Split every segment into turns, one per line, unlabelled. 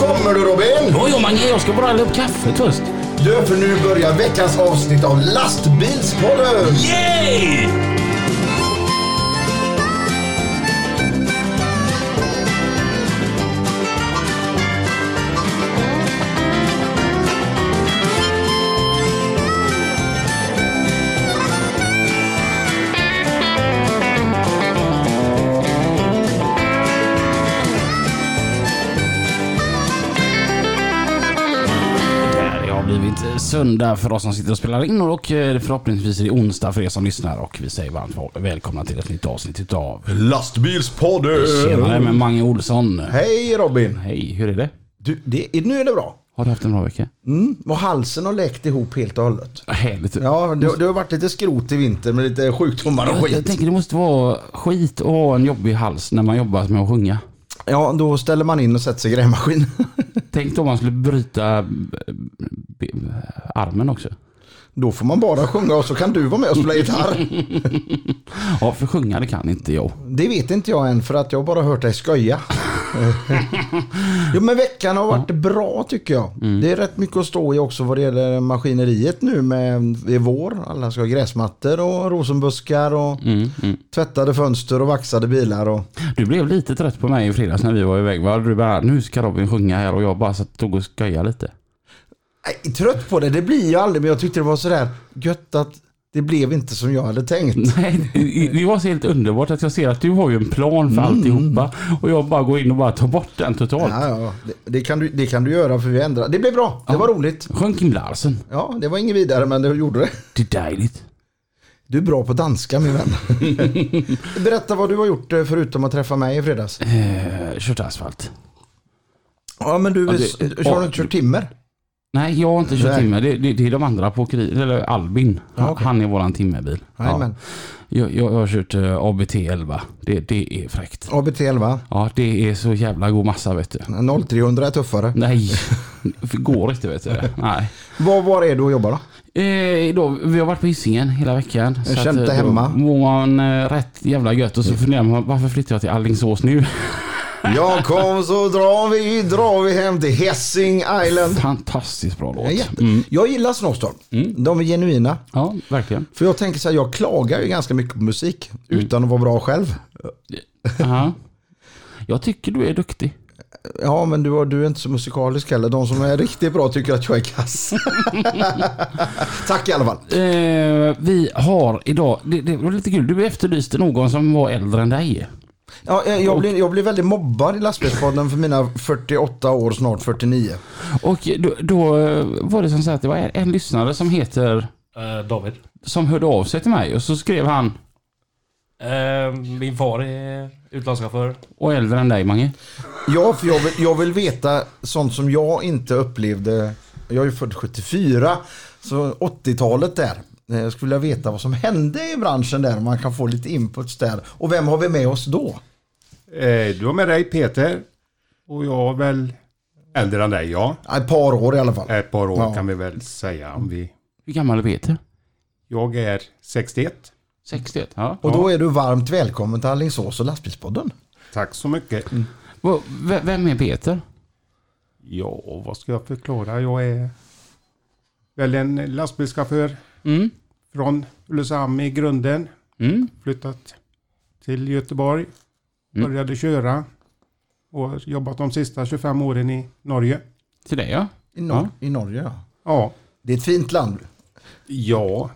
Kommer du Robin?
Jo, jo, Mange, jag ska bara hälla upp kaffe först.
Du, för nu börjar veckans avsnitt av Lastbilspodden!
Yay! Det har blivit eh, söndag för oss som sitter och spelar in och eh, förhoppningsvis är det onsdag för er som lyssnar och vi säger varmt välkomna till ett nytt avsnitt utav
Lastbilspodden!
Tjenare med Mange Olsson.
Hej Robin!
Hej, hur är det?
Du, det, är- nu är det bra.
Har du haft en bra vecka?
Mm. Och halsen har läkt ihop helt och hållet.
Härligt.
Ja, det, det har varit lite skrot i vinter med lite sjukdomar och
Jag, jag
skit.
tänker det måste vara skit att ha en jobbig hals när man jobbar med att sjunga.
Ja, då ställer man in och sätter sig i grävmaskin.
Tänk då om man skulle bryta eh, be- armen också.
Då får man bara sjunga och så kan du vara med och spela gitarr.
Ja, för sjunga det kan inte jag.
Det vet inte jag än för att jag har bara hört dig skoja. jo men veckan har varit bra tycker jag. Det är rätt mycket att stå i också vad det gäller maskineriet nu med i vår. Alla ska ha gräsmattor och rosenbuskar och tvättade fönster och vaxade bilar. Och...
Du blev lite trött på mig i fredags när vi var iväg. Va? Du bara, nu ska Robin sjunga här och jag bara satt tog och skojade lite.
Nej, trött på det, det blir jag aldrig men jag tyckte det var sådär gött att det blev inte som jag hade
Mm.
tänkt.
Nej, det- det var så helt underbart att jag ser att du har ju en plan
Mm.
för alltihopa och jag bara går in och bara tar bort den totalt.
Ja, ja, det, det, kan du, det kan du göra för vi ändrar. Det blev bra, det var roligt.
Sjön Kim Larsen.
Ja, det var inget vidare men det gjorde det.
Det är dejligt.
Du är bra på danska min vän. Berätta vad du har gjort eh, förutom att träffa mig i fredags.
Eh, Kört asfalt.
Ja men du,
Ja, det-
s- har du inte kört timmer?
Nej, jag har inte kört
Nej.
timme. Det, det, det är de andra på åkeriet. Eller Albin. Han,
Ja, okej.
han är våran timmerbil.
Jajamän.
Jag, jag, jag har kört eh, ABT 11. Det, det är fräckt.
ABT 11.
Ja, det är så jävla god massa vet du.
Mm. 0300 är tuffare.
Nej, det går inte vet du det. Nej.
Var, var är du och jobbar då?
Eh, då, vi har varit på Hisingen hela veckan.
Jag
så
känt
att,
det
eh,
hemma.
Då mår man eh, rätt jävla gött och så funderar man varför flyttar jag till Alingsås nu?
Jag kom så drar vi, drar vi hem till Hessing Island.
Fantastiskt bra låt.
Ja, jätte-
Mm.
Jag gillar Snowstorm. De är genuina.
Ja, verkligen.
För jag tänker så här, jag klagar ju ganska mycket på musik
Mm.
utan att vara bra själv.
Aha. Jag tycker du är duktig.
Ja men du, du är inte så musikalisk heller. De som är riktigt bra tycker att jag är kass. Tack i alla fall.
Eh, vi har idag, det, det var lite kul, du efterlyste någon som var äldre än dig.
Ja, eh, jag, jag, blir, jag blir väldigt mobbad i lastbilspodden för mina 48 år, snart 49.
Och då, då eh, var det som så att det var en, en lyssnare som heter,
Eh, David.
som hörde av sig till mig och så skrev han,
Eh, min far är utlandschaufför.
och äldre än dig Mange.
Ja, för jag vill, jag vill veta sånt som jag inte upplevde. Jag är ju född 74, så 80-talet där. Eh, Jag skulle vilja veta vad som hände i branschen där, man kan få lite inputs där. Och vem har vi med oss då?
Eh, Du har med dig Peter och jag är väl äldre än dig ja.
Ja, Ett par år i alla fall.
Ett par år
Ja.
kan vi väl säga om vi...
Hur gammal är Peter?
Jag är 61.
61? Ja.
Och då är du varmt välkommen till Alingsås och lastbilspodden.
Tack så mycket.
Va- v- Vem är Peter?
Ja, vad ska jag förklara? Jag är väl en lastbilschaufför
Mm.
från Ulricehamn i grunden.
Mm.
Flyttat till Göteborg.
Mm.
Började köra. Och har jobbat de sista 25 åren i Norge.
Till dig ja.
I, Nor- I Norge ja.
Ja.
Det är ett fint land.
Ja.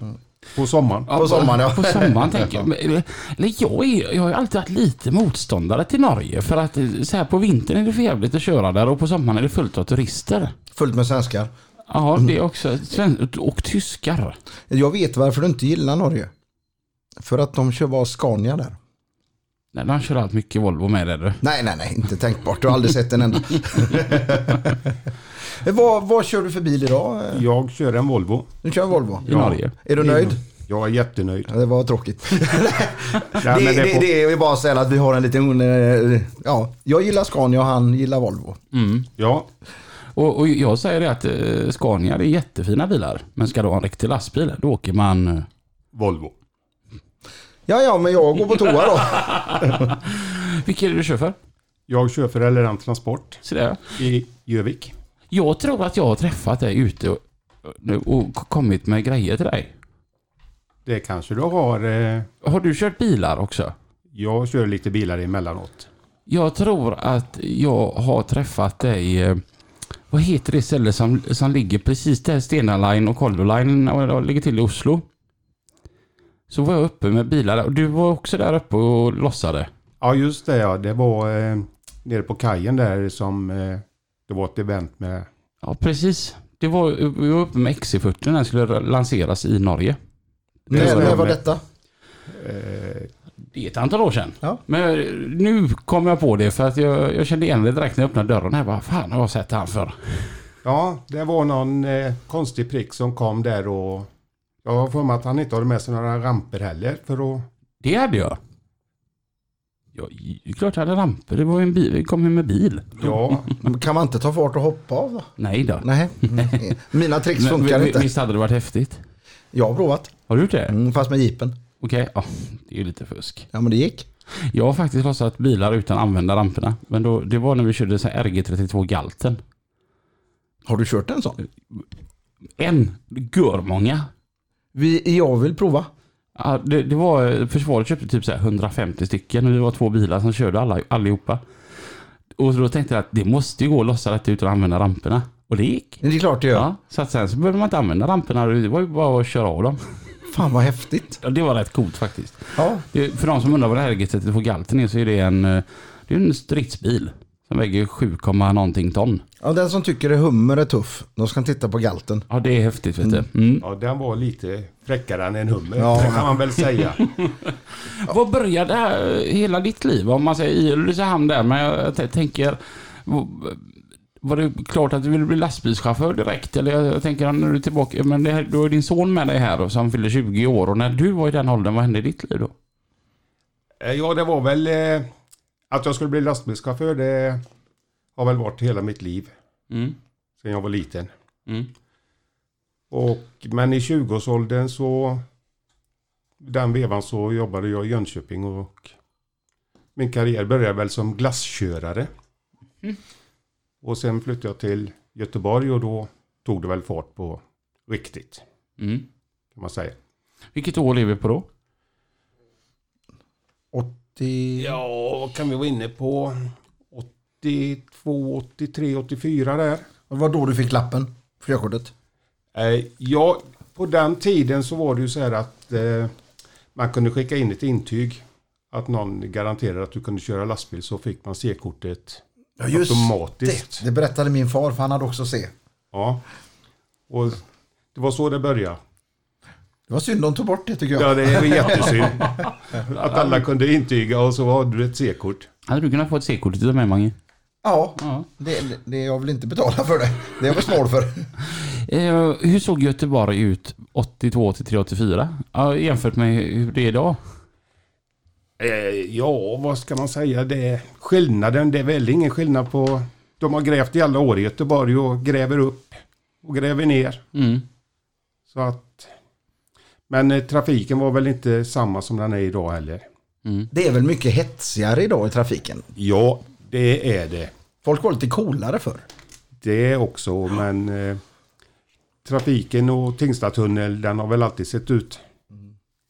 På sommaren.
Ja,
På sommaren, ja.
På sommaren tänker jag. Men, Eller, eller jag, är, jag har ju alltid varit lite motståndare till Norge. För att eh, så här på vintern är det för jävligt att köra där och på sommaren är det fullt av turister. Mm.
Fullt med svenskar.
Ja, det är också. sven- Och tyskar.
Jag vet varför du inte gillar Norge. För att de kör bara Scania där.
Nej, de kör allt mycket Volvo med det du.
Nej, nej, nej, inte tänkbart. Du har aldrig sett en enda. vad, vad kör du för bil idag?
Jag kör en Volvo.
Du kör en Volvo.
I Norge.
Är du nöjd?
Jag är jättenöjd.
Ja, det var tråkigt.
Ja,
det,
men
det,
på-
det är ju bara att säga att vi har en liten... eh, Ja, jag gillar Scania och han gillar Volvo.
ja,
Och, och jag säger det att eh, Scania det är jättefina bilar. Men ska du ha en riktig lastbil, då åker man... eh,
Volvo.
Ja, ja, men jag går på toa då.
Vilka är det du kör för?
Jag kör för relevant transport
Så där.
i Jövik.
Jag tror att jag har träffat dig ute och, nu och kommit med grejer till dig.
Det kanske du har. eh,
Har du kört bilar också?
Jag kör lite bilar emellanåt.
Jag tror att jag har träffat dig. eh, Vad heter det ställe som, som ligger precis där Stena Line och Koldo Line och det ligger till i Oslo? Så var jag uppe med bilar där. och du var också där uppe och lossade.
Ja, just det. Ja. Det var eh, nere på kajen där som eh, det var ett event med.
Ja, precis. Det var, vi var uppe med XC40 när den skulle lanseras i Norge.
Det
När,
var
när
jag
var
med.
detta?
Eh,
Det är ett antal år sedan.
Ja.
Men eh, nu kom jag på det för att jag, jag kände igen det direkt när jag öppnade dörren. Jag bara, fan har jag sett han för?
ja, det var någon eh, konstig prick som kom där och jag har för mig att han inte hade med sig några ramper heller för att...
Det hade jag. Ja, det är klart jag hade ramper. Det var ju en bil. Vi kom ju med bil.
Ja,
Kan man inte ta fart och hoppa av då?
Nej då.
Nej, mina tricks
Men
funkar
vi- vi-
inte.
Visst hade det varit häftigt?
Jag har provat,
Har du gjort det?
mm, fast med jeepen.
Okej, ja, det är ju lite fusk.
Ja men det gick.
Jag har faktiskt lossat bilar utan att använda ramperna. Men då, det var när vi körde så här RG32 Galten.
Har du kört en sån?
En, gör många.
Vi, jag vill prova.
Ja, det, det var, försvaret köpte typ så här 150 stycken och vi var två bilar som körde alla, allihopa. Och då tänkte jag att det måste ju gå att lossa detta utan att använda ramperna. Och det gick.
Det är klart det gör.
Ja, så att sen så behövde man inte använda ramperna. Det var ju bara att köra av dem.
Fan vad häftigt.
Ja, Det var rätt coolt faktiskt.
Ja.
Det, för de som undrar vad det här RG32 Galten är så är det en, eh, det är en stridsbil. Som väger 7, komma någonting ton.
ja, den som tycker det hummer är tuff, de ska titta på galten.
Ja det är häftigt vet du. Mm.
ja den var lite fräckare än en hummer.
Ja.
Det kan man väl säga.
Var började det här, eh, hela ditt liv? Om man säger i Ulricehamn där, men jag t- tänker... v- Var det klart att du ville bli lastbilschaufför direkt? Eller jag jag tänker när du är tillbaka, men det, här- du har ju din son med dig här och som fyller 20 år och när du var i den åldern, vad hände i ditt liv då?
Eh, Ja, det var väl eh, att jag skulle bli lastbilschaufför. Det har väl varit hela mitt liv
Mm.
sedan jag var liten.
Mm.
Och, men i 20-årsåldern så den vevan så jobbade jag i Jönköping och min karriär började väl som glasskörare. Och sen flyttade jag till Göteborg och då tog det väl fart på riktigt
Mm.
kan man säga.
Vilket år lever vi på då?
80...
Ja, vad kan vi vara inne på? 82, 83, 84 där.
Det var då du fick lappen, körkortet.
Eh, Ja, på den tiden så var det ju så här att eh, man kunde skicka in ett intyg att någon garanterade att du kunde köra lastbil så fick man C-kortet
Ja
automatiskt.
det. Det berättade min far för han hade också C.
Ja. Och det var så det började.
Det var synd de tog bort det tycker jag.
Ja, det är väl jättesynd. Att alla kunde intyga och så hade du ett C-kort.
Hade du kunnat få ett C-kort utav mig Mange?
Ja,
Ja.
det, det, det jag vill inte betala för det. Det är jag väl snål för.
Eh, hur såg Göteborg ut 82, 83, 84? Ja, jämfört med hur det är idag?
Eh, Ja, vad ska man säga? Det är skillnaden, det är väl ingen skillnad på... De har grävt i alla år i Göteborg och gräver upp och gräver ner.
Mm.
Så att, men eh, trafiken var väl inte samma som den är idag heller?
Mm.
Det är väl mycket hetsigare idag i trafiken.
Ja, det är det.
Folk var lite coolare förr.
Det är också, men eh, trafiken och Tingstadtunneln, den har väl alltid sett ut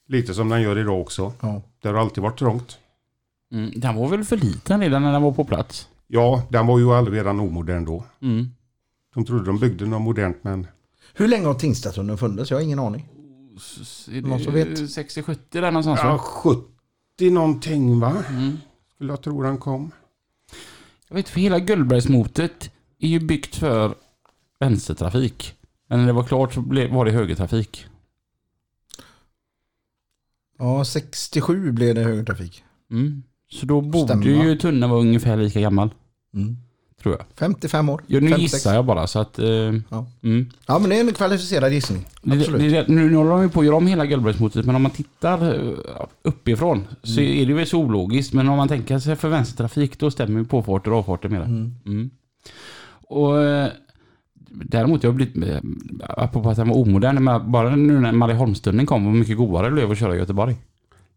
lite som den gör idag också.
Ja.
Det har alltid varit trångt.
Mm. Den var väl för liten redan när den var på plats?
Ja, den var ju aldrig redan omodern då.
Mm.
De trodde de byggde något modernt, men
Hur länge har Tingstadstunneln funnits? Jag har ingen aning.
S- är det
Någon som vet?
60-70 där någonstans
ja,
va? Mm.
70 någonting va? Skulle jag tro den kom.
Jag vet för hela Gullbergsmotet är ju byggt för vänstertrafik. Men när det var klart så blev, var det högertrafik.
Ja, 67 blev det högertrafik.
Mm. Så då borde
Stämmer.
ju tunneln vara ungefär lika gammal.
Mm.
Tror jag.
55 år.
Ja, nu
56.
gissar jag bara så att... Eh,
Ja.
mm.
Ja, men det är en kvalificerad gissning.
det,
Absolut.
det, det, nu nu håller de ju på att göra om hela Gullbergsmotet men om man tittar eh, uppifrån så är det ju så ologiskt. Men om man tänker sig för vänstertrafik då stämmer ju påfarter och avfarter med det.
Mm.
Mm. Och eh, Däremot, jag har blivit, eh, apropå att den var omodern, men bara nu när Marieholmstunneln kom, vad mycket godare det blev att köra i Göteborg.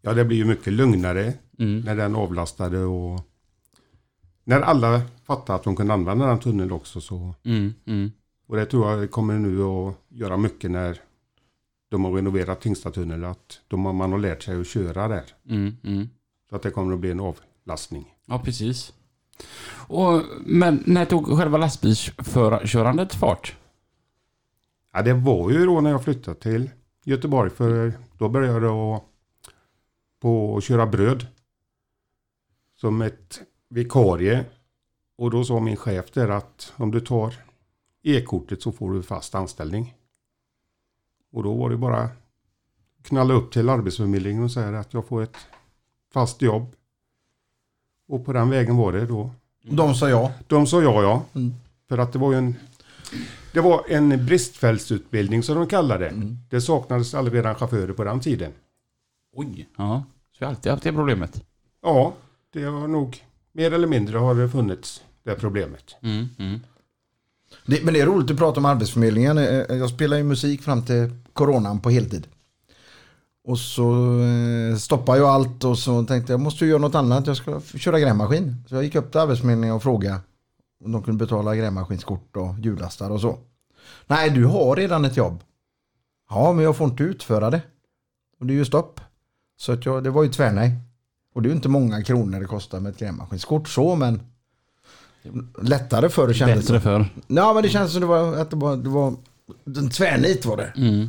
Ja, det blir ju mycket lugnare
Mm.
när den avlastade och När alla fattade att de kunde använda den tunneln också så.
Mm, mm.
Och det tror jag kommer nu att göra mycket när de har renoverat Tingstadtunneln. Att de, har- man har lärt sig att köra där.
Mm, mm.
Så att det kommer att bli en avlastning.
Ja, precis. Och, men när tog själva lastbilskörandet fart?
Ja, det var ju då när jag flyttade till Göteborg. För då började jag att- på att köra bröd. Som ett vikarie. Och då sa min chef där att om du tar e-kortet så får du fast anställning. Och då var det bara att knalla upp till Arbetsförmedlingen och säga att jag får ett fast jobb. Och på den vägen var det då.
De sa ja.
De sa ja, ja.
Mm.
För att det var ju en... Det var en bristfältsutbildning som de kallade det. Det saknades allredan chaufförer på den tiden.
Oj. Ja, så jag har alltid haft det problemet.
Ja, det har nog... Mer eller mindre har det funnits, det problemet.
Mm, mm.
Det, men det är roligt att prata om Arbetsförmedlingen. Eh, Jag spelar ju musik fram till coronan på heltid. Och så eh, stoppade jag allt och så tänkte jag måste ju göra något annat. Jag ska f- köra grävmaskin. Så jag gick upp till Arbetsförmedlingen och frågade om de kunde betala grävmaskinskort och hjulastar och så. Nej, du har redan ett jobb. Ja, men jag får inte utföra det. Och det är ju stopp. Så att jag, det var ju tvärnej. Och det är ju inte många kronor det kostar med ett grävmaskinskort så, men lättare förr kändes det.
Bättre förr.
Ja men det känns som det var, att det var, det var en tvärnit var det.
Mm.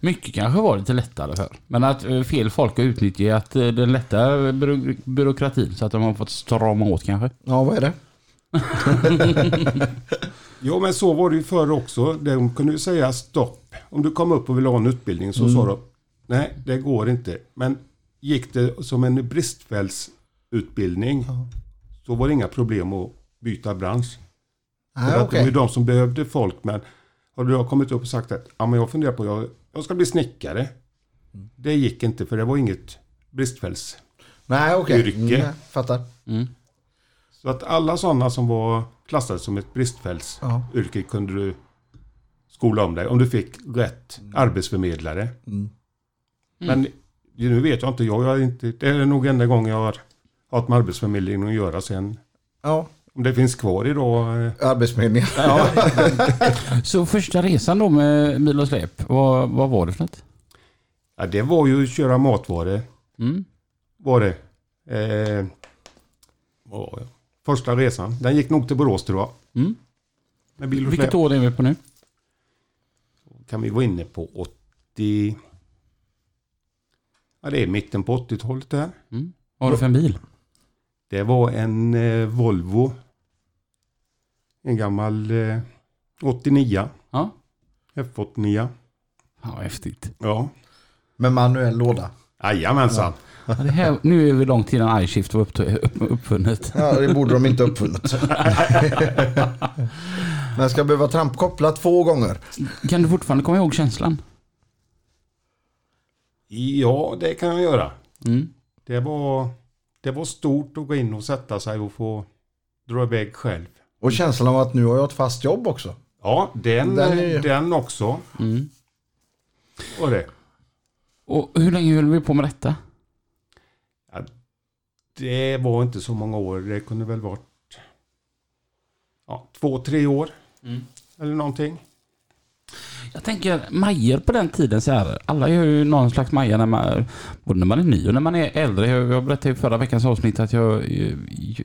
Mycket kanske var lite lättare förr. Men att eh, fel folk har utnyttjat eh, den lätta byrå- byråkratin så att de har fått strama åt kanske.
Ja vad är det?
Jo, men så var det ju förr också. De kunde ju säga stopp. Om du kom upp och ville ha en utbildning så sa de nej, det går inte. Men gick det som en bristfältsutbildning så var det inga problem att byta bransch. För
Nej,
att det var
okej.
ju de som behövde folk. Men har du kommit upp och sagt att ja, men jag funderar på jag, jag ska bli snickare. Det gick inte för det var inget bristfälls.
Nej okej.
Yrke.
Mm, jag fattar.
Så att alla sådana som var klassade som ett bristfältsyrke
Ja.
kunde du skola om dig om du fick rätt arbetsförmedlare. Men nu vet jag inte, jag har inte, det är nog enda gången jag har haft med Arbetsförmedlingen att göra sen.
Ja,
Om det finns kvar idag. eh,
arbetsförmedlingen.
Ja,
Så första resan då med bil och släp, vad, vad var det för något?
ja, det var ju att köra matvaror.
Mm.
var det. Eh, vad var jag? Första resan. Den gick nog till Borås tror jag.
Mm.
Med bil och
Vilket
släp.
år är vi på nu?
Kan vi vara inne på 80... Ja, det är mitten på 80-talet där.
Mm. Vad var det för en bil?
Det var en eh, Volvo. En gammal eh, 89.
Ja.
F89.
Ja, vad häftigt.
Ja.
Med manuell låda.
Jajamensan.
Ja, det här, nu är vi långt innan iShift var upp, upp, uppfunnet.
Ja, det borde de inte ha uppfunnit. men ska jag behöva trampkoppla två gånger?
Kan du fortfarande komma ihåg känslan?
Ja, det kan jag göra.
Mm.
Det var, det var stort att gå in och sätta sig och få dra iväg själv.
Och känslan av att nu har jag ett fast jobb också.
Ja, den,
Den
den,
är-
också.
Mm.
Och det.
Och hur länge höll vi på med detta?
det var inte så många år. Det kunde väl varit ja, två, tre år. Eller någonting.
Jag tänker majer på den tiden så här. Alla gör ju någon slags majer när man, både när man är ny och när man är äldre. Jag, jag berättade i förra veckans avsnitt att jag eh,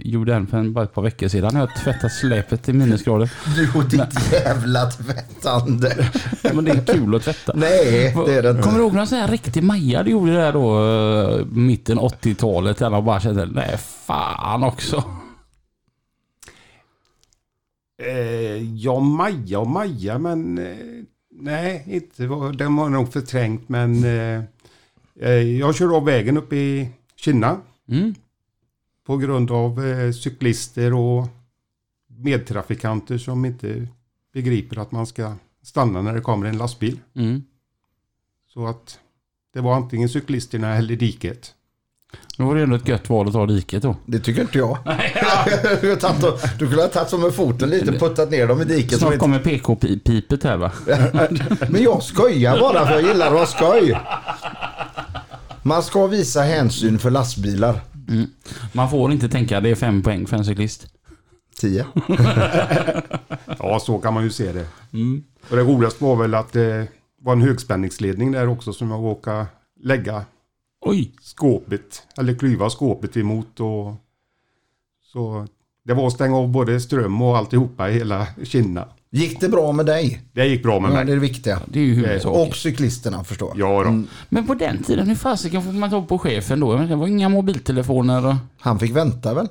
gjorde en för en, bara ett par veckor sedan. Jag tvättade släpet i minusgrader.
Du och ditt jävla tvättande.
Men det är kul att tvätta.
Nej, det är det
Kommer
inte.
du ihåg någon sån här riktig Maja du gjorde där då eh, mitten 80-talet? Där man bara kände, nej fan också.
Eh, ja, Maja och Maja, men eh, nej, inte. vad- Den var nog förträngt, men eh, eh, jag körde av vägen uppe i Kina
Mm.
på grund av eh, cyklister och medtrafikanter som inte begriper att man ska stanna när det kommer en lastbil.
Mm.
Så att det var antingen cyklisterna eller diket.
Då var det ändå ett gött val att ta diket då.
Det tycker inte jag. du, har tagit och- du kunde ha tagit som med foten lite, puttat ner dem i diket. som
Snart
inte-
kommer PK-pipet här va?
Men jag skojar bara för jag gillar att ha skoj. Man ska visa hänsyn för lastbilar.
Mm. Man får inte tänka det är fem poäng för en cyklist.
10.
Ja, så kan man ju se det. Och det roligaste var väl att det var en högspänningsledning där också som jag råkade lägga
Oj!
skåpet, eller klyva skåpet emot. Och, så det var att stänga av både ström och alltihopa i hela Kina.
Gick det bra med dig?
Det gick bra med
Ja, det
mig.
är det viktiga.
Det är ju huvudsaken.
Och cyklisterna förstår jag.
Ja då.
Men på den tiden, hur fasiken får man tag på chefen då? Jag menar, Det var inga mobiltelefoner. och-
Han fick vänta väl?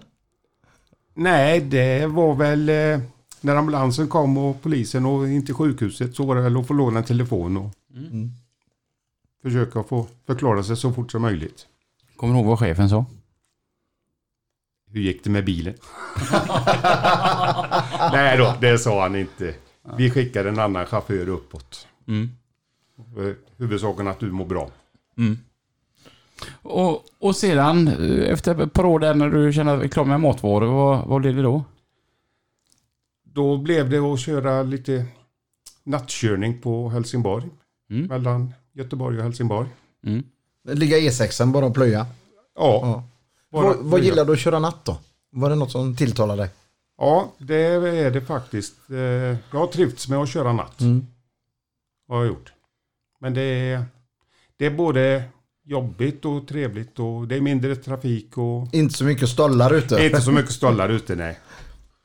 Nej, det var väl eh, när ambulansen kom och polisen och inte sjukhuset så var det väl att få låna en telefon och
Mm.
försöka få förklara sig så fort som möjligt.
Kommer du ihåg vad chefen sa?
Hur gick det med bilen? Nej då, det sa han inte. Vi skickade en annan chaufför uppåt.
Mm.
Eh, Huvudsaken att du mår bra.
Och, och sedan, eh, efter ett par år där när du kände dig klar med matvaror, vad, vad blev det då?
Då blev det att köra lite nattkörning på Helsingborg.
Mm.
Mellan Göteborg och Helsingborg.
Mm.
Ligga E6 bara och plöja.
Ja.
Ja.
bara-
Vad, vad gillar du att köra natt då? Var det något som tilltalade dig?
Ja, det är det faktiskt. Eh, Jag har trivts med att köra natt.
Mm.
Har jag gjort. Men det är, det är både jobbigt och trevligt och det är mindre trafik och
Inte så mycket stollar
det är
ute.
inte så mycket stollar ute nej.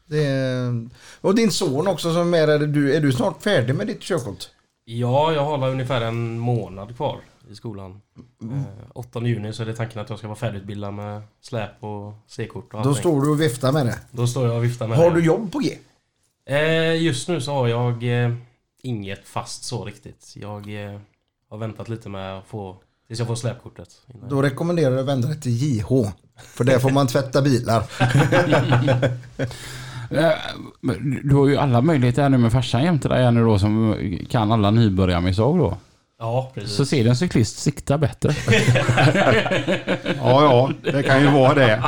Det är... Och din son också som är där. Du, är du snart färdig med ditt körkort?
Ja, jag har ungefär en månad kvar i skolan.
Mm.
Eh, 8 juni så är det tanken att jag ska vara färdigutbildad med släp och C-kort och
Då
allting.
står du och viftar med det.
Då står jag och viftar med
Har
det.
du jobb på G?
Eh, just nu så har jag eh, inget fast så riktigt. Jag eh, har väntat lite med att få, tills jag får släpkortet. Innan.
Då rekommenderar jag att vända dig till JH. För där får man tvätta bilar.
Eh, men Du har ju alla möjligheter här nu med farsan jämte dig här nu då som kan alla nybörjarmisstag då.
Ja, precis.
Så ser du en cyklist sikta bättre.
Ja, ja, det kan ju vara det.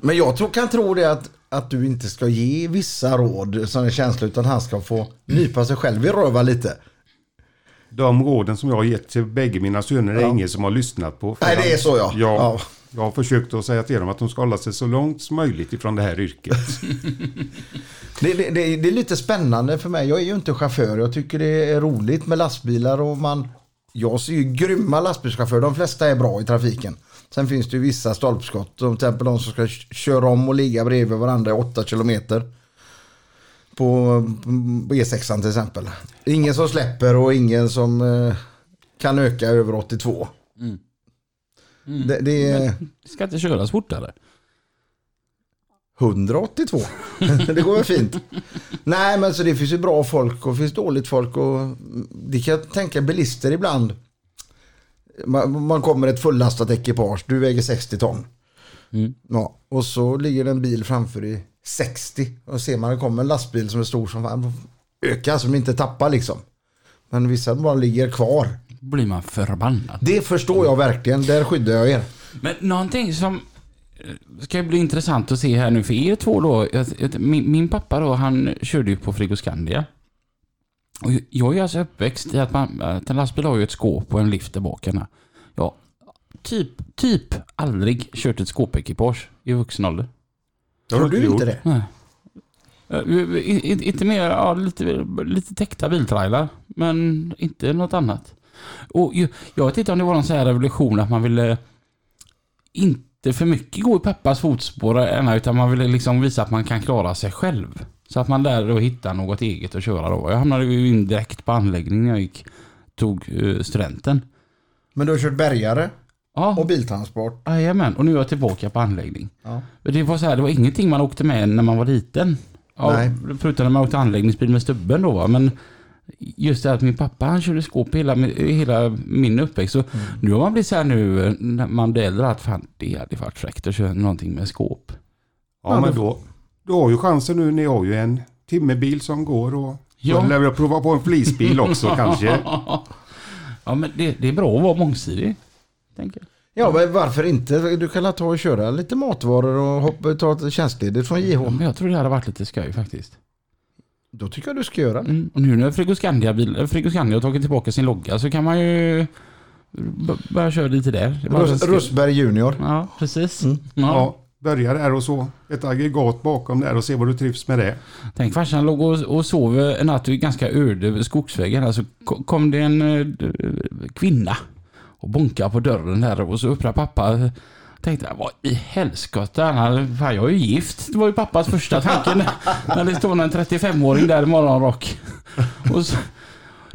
Men jag tror, kan tro det att, att du inte ska ge vissa råd som är känsliga utan han ska få nypa sig själv i röva lite.
De råden som jag har gett till bägge mina söner är ingen som har lyssnat på.
Nej, det är så, ja.
Jag,
Ja.
jag har försökt att säga till dem att de ska hålla sig så långt som möjligt ifrån det här yrket.
Det, det, det, det är lite spännande för mig. Jag är ju inte chaufför. Jag tycker det är roligt med lastbilar och man... Jag ser ju grymma lastbilschaufförer. De flesta är bra i trafiken. Sen finns det ju vissa stolpskott. Som till exempel de som ska k- köra om och ligga bredvid varandra i 8 kilometer. På mm, E6 till exempel. Ingen som släpper och ingen som eh, kan öka över 82. Det, det är
Det ska inte köras fortare.
182. det går väl fint. Nej, men så det finns ju bra folk och det finns dåligt folk. Och mm, det kan jag tänka bilister ibland. Man, man kommer ett fullastat ekipage, du väger 60 ton.
Mm.
Ja, och så ligger det en bil framför i 60 och ser man det kommer en lastbil som är stor som fan, ökar som inte tappar liksom. Men vissa bara ligger kvar.
blir man förbannad.
Det förstår jag verkligen, där skyddar jag er.
Men någonting som eh, ska bli intressant att se här nu för er två då. att- att Min, min pappa då, han körde ju på Frigoscandia. Och jag är alltså uppväxt i att, man, att en lastbil har ju ett skåp och en lift där bak. här. Ja, typ, typ aldrig kört ett skåpekipage i vuxen ålder.
Det har
Tror
du
du
gjort.
inte det?
Eh, i- i- Inte mer, ja, lite, lite täckta biltrailar, men inte något annat. Och ju- jag vet inte om det var någon sån här revolution att man ville inte för mycket gå i pappas fotspår än, utan man ville liksom visa att man kan klara sig själv. Så att man lärde sig att hitta något eget att köra då. Jag hamnade ju in direkt på anläggningen när jag gick, tog eh, studenten.
Men du har kört bärgare och
Ja,
biltransport.
jajamän. Och nu är jag tillbaka på anläggning.
Ja.
Det var så här, det var ingenting man åkte med när man var liten. Ja,
Nej.
Förutom när man åkte anläggningsbil med stubben då va. Men just det här att min pappa han körde skåp hela, hela min uppväxt. Så
Mm.
nu har man blivit så här nu eh, när man blir äldre att fan det hade varit fräckt att köra någonting med skåp.
Ja, men då, du har ju chansen nu. Ni har ju en timmerbil som går och
Ja.
då lär vi prova på en flisbil också kanske.
Ja men det, det är bra att vara mångsidig. Tänker jag.
Ja, men varför inte? Du kan la ta och köra lite matvaror och hoppa, ta ett tjänstledigt från JH.
Ja, men jag tror det hade varit lite skoj faktiskt.
Då tycker jag du ska göra det.
eh, Mm. Och nu när Frigoscandia, bil, Frigoscandia har tagit tillbaka sin logga så kan man ju B- börja köra lite där. Det var
Rus, Mm.
ganska-
Rustberg Junior.
Ja, precis. Ja.
Ja, börja där och så ett aggregat bakom där och se vad du trivs med det.
Tänk farsan låg och, och sov en natt i ganska öde skogsvägen. Alltså ko- kom det en eh, d- kvinna och bonkade på dörren där och så öppnade pappa. Tänkte jag, vad i helskotta, han hade- fan jag är ju gift. Det var ju pappas första tanke när- när det står en 35-åring där i morgonrock. Och så,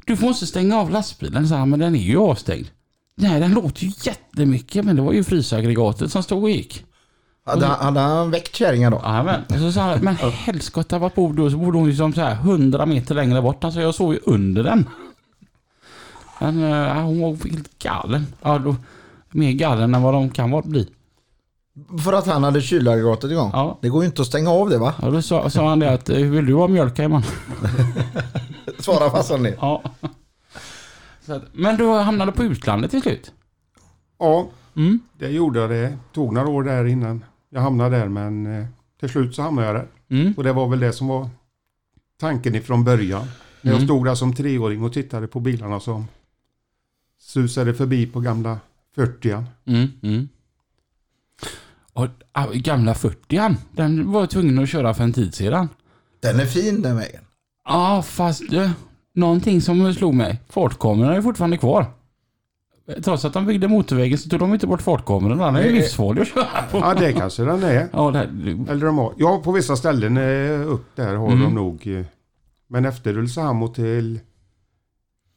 du får inte stänga av lastbilen, sa han, men den är ju avstängd. Nej, den låter ju jättemycket, men det var ju frysaggregatet som stod och gick.
Hade, han- hade han väckt kärringen då?
Jajamän. Och så sa han, men helskotta vart bor du? Och så bodde hon ju som så här 100 meter längre bort. Alltså jag sov ju under den. Men eh, hon var helt galen. Ja, då, mer galen än vad de kan vara bli.
För att han hade kylaggregatet igång?
Ja.
Det går ju inte att stänga av det va?
Ja, då sa, sa han det att, eh, vill du ha mjölk hemma?
Svara farsan det.
Ja. Så att, men du hamnade på utlandet till slut?
Ja,
Mm.
det gjorde jag det. Tog några år där innan jag hamnade där men eh, till slut så hamnade jag där.
Mm.
Och det var väl det som var tanken ifrån början. När jag
Mm.
stod där som treåring och tittade på bilarna som susade förbi på gamla 40
Mm. Mm. Och ah, gamla 40 den var jag tvungen att köra för en tid sedan.
Den är fin den vägen.
Ja, fast eh, någonting som slog mig. Fartkamerorna är fortfarande kvar. Eh, Trots att de byggde motorvägen så tog de inte bort fartkamerorna. Den är ju
Nej.
livsfarlig att köra på.
Ja, det kanske den är.
Ja, det här,
Eller de har. Ja, på vissa ställen eh, upp där har
Mm.
de nog. eh, Men efter Ulricehamn och till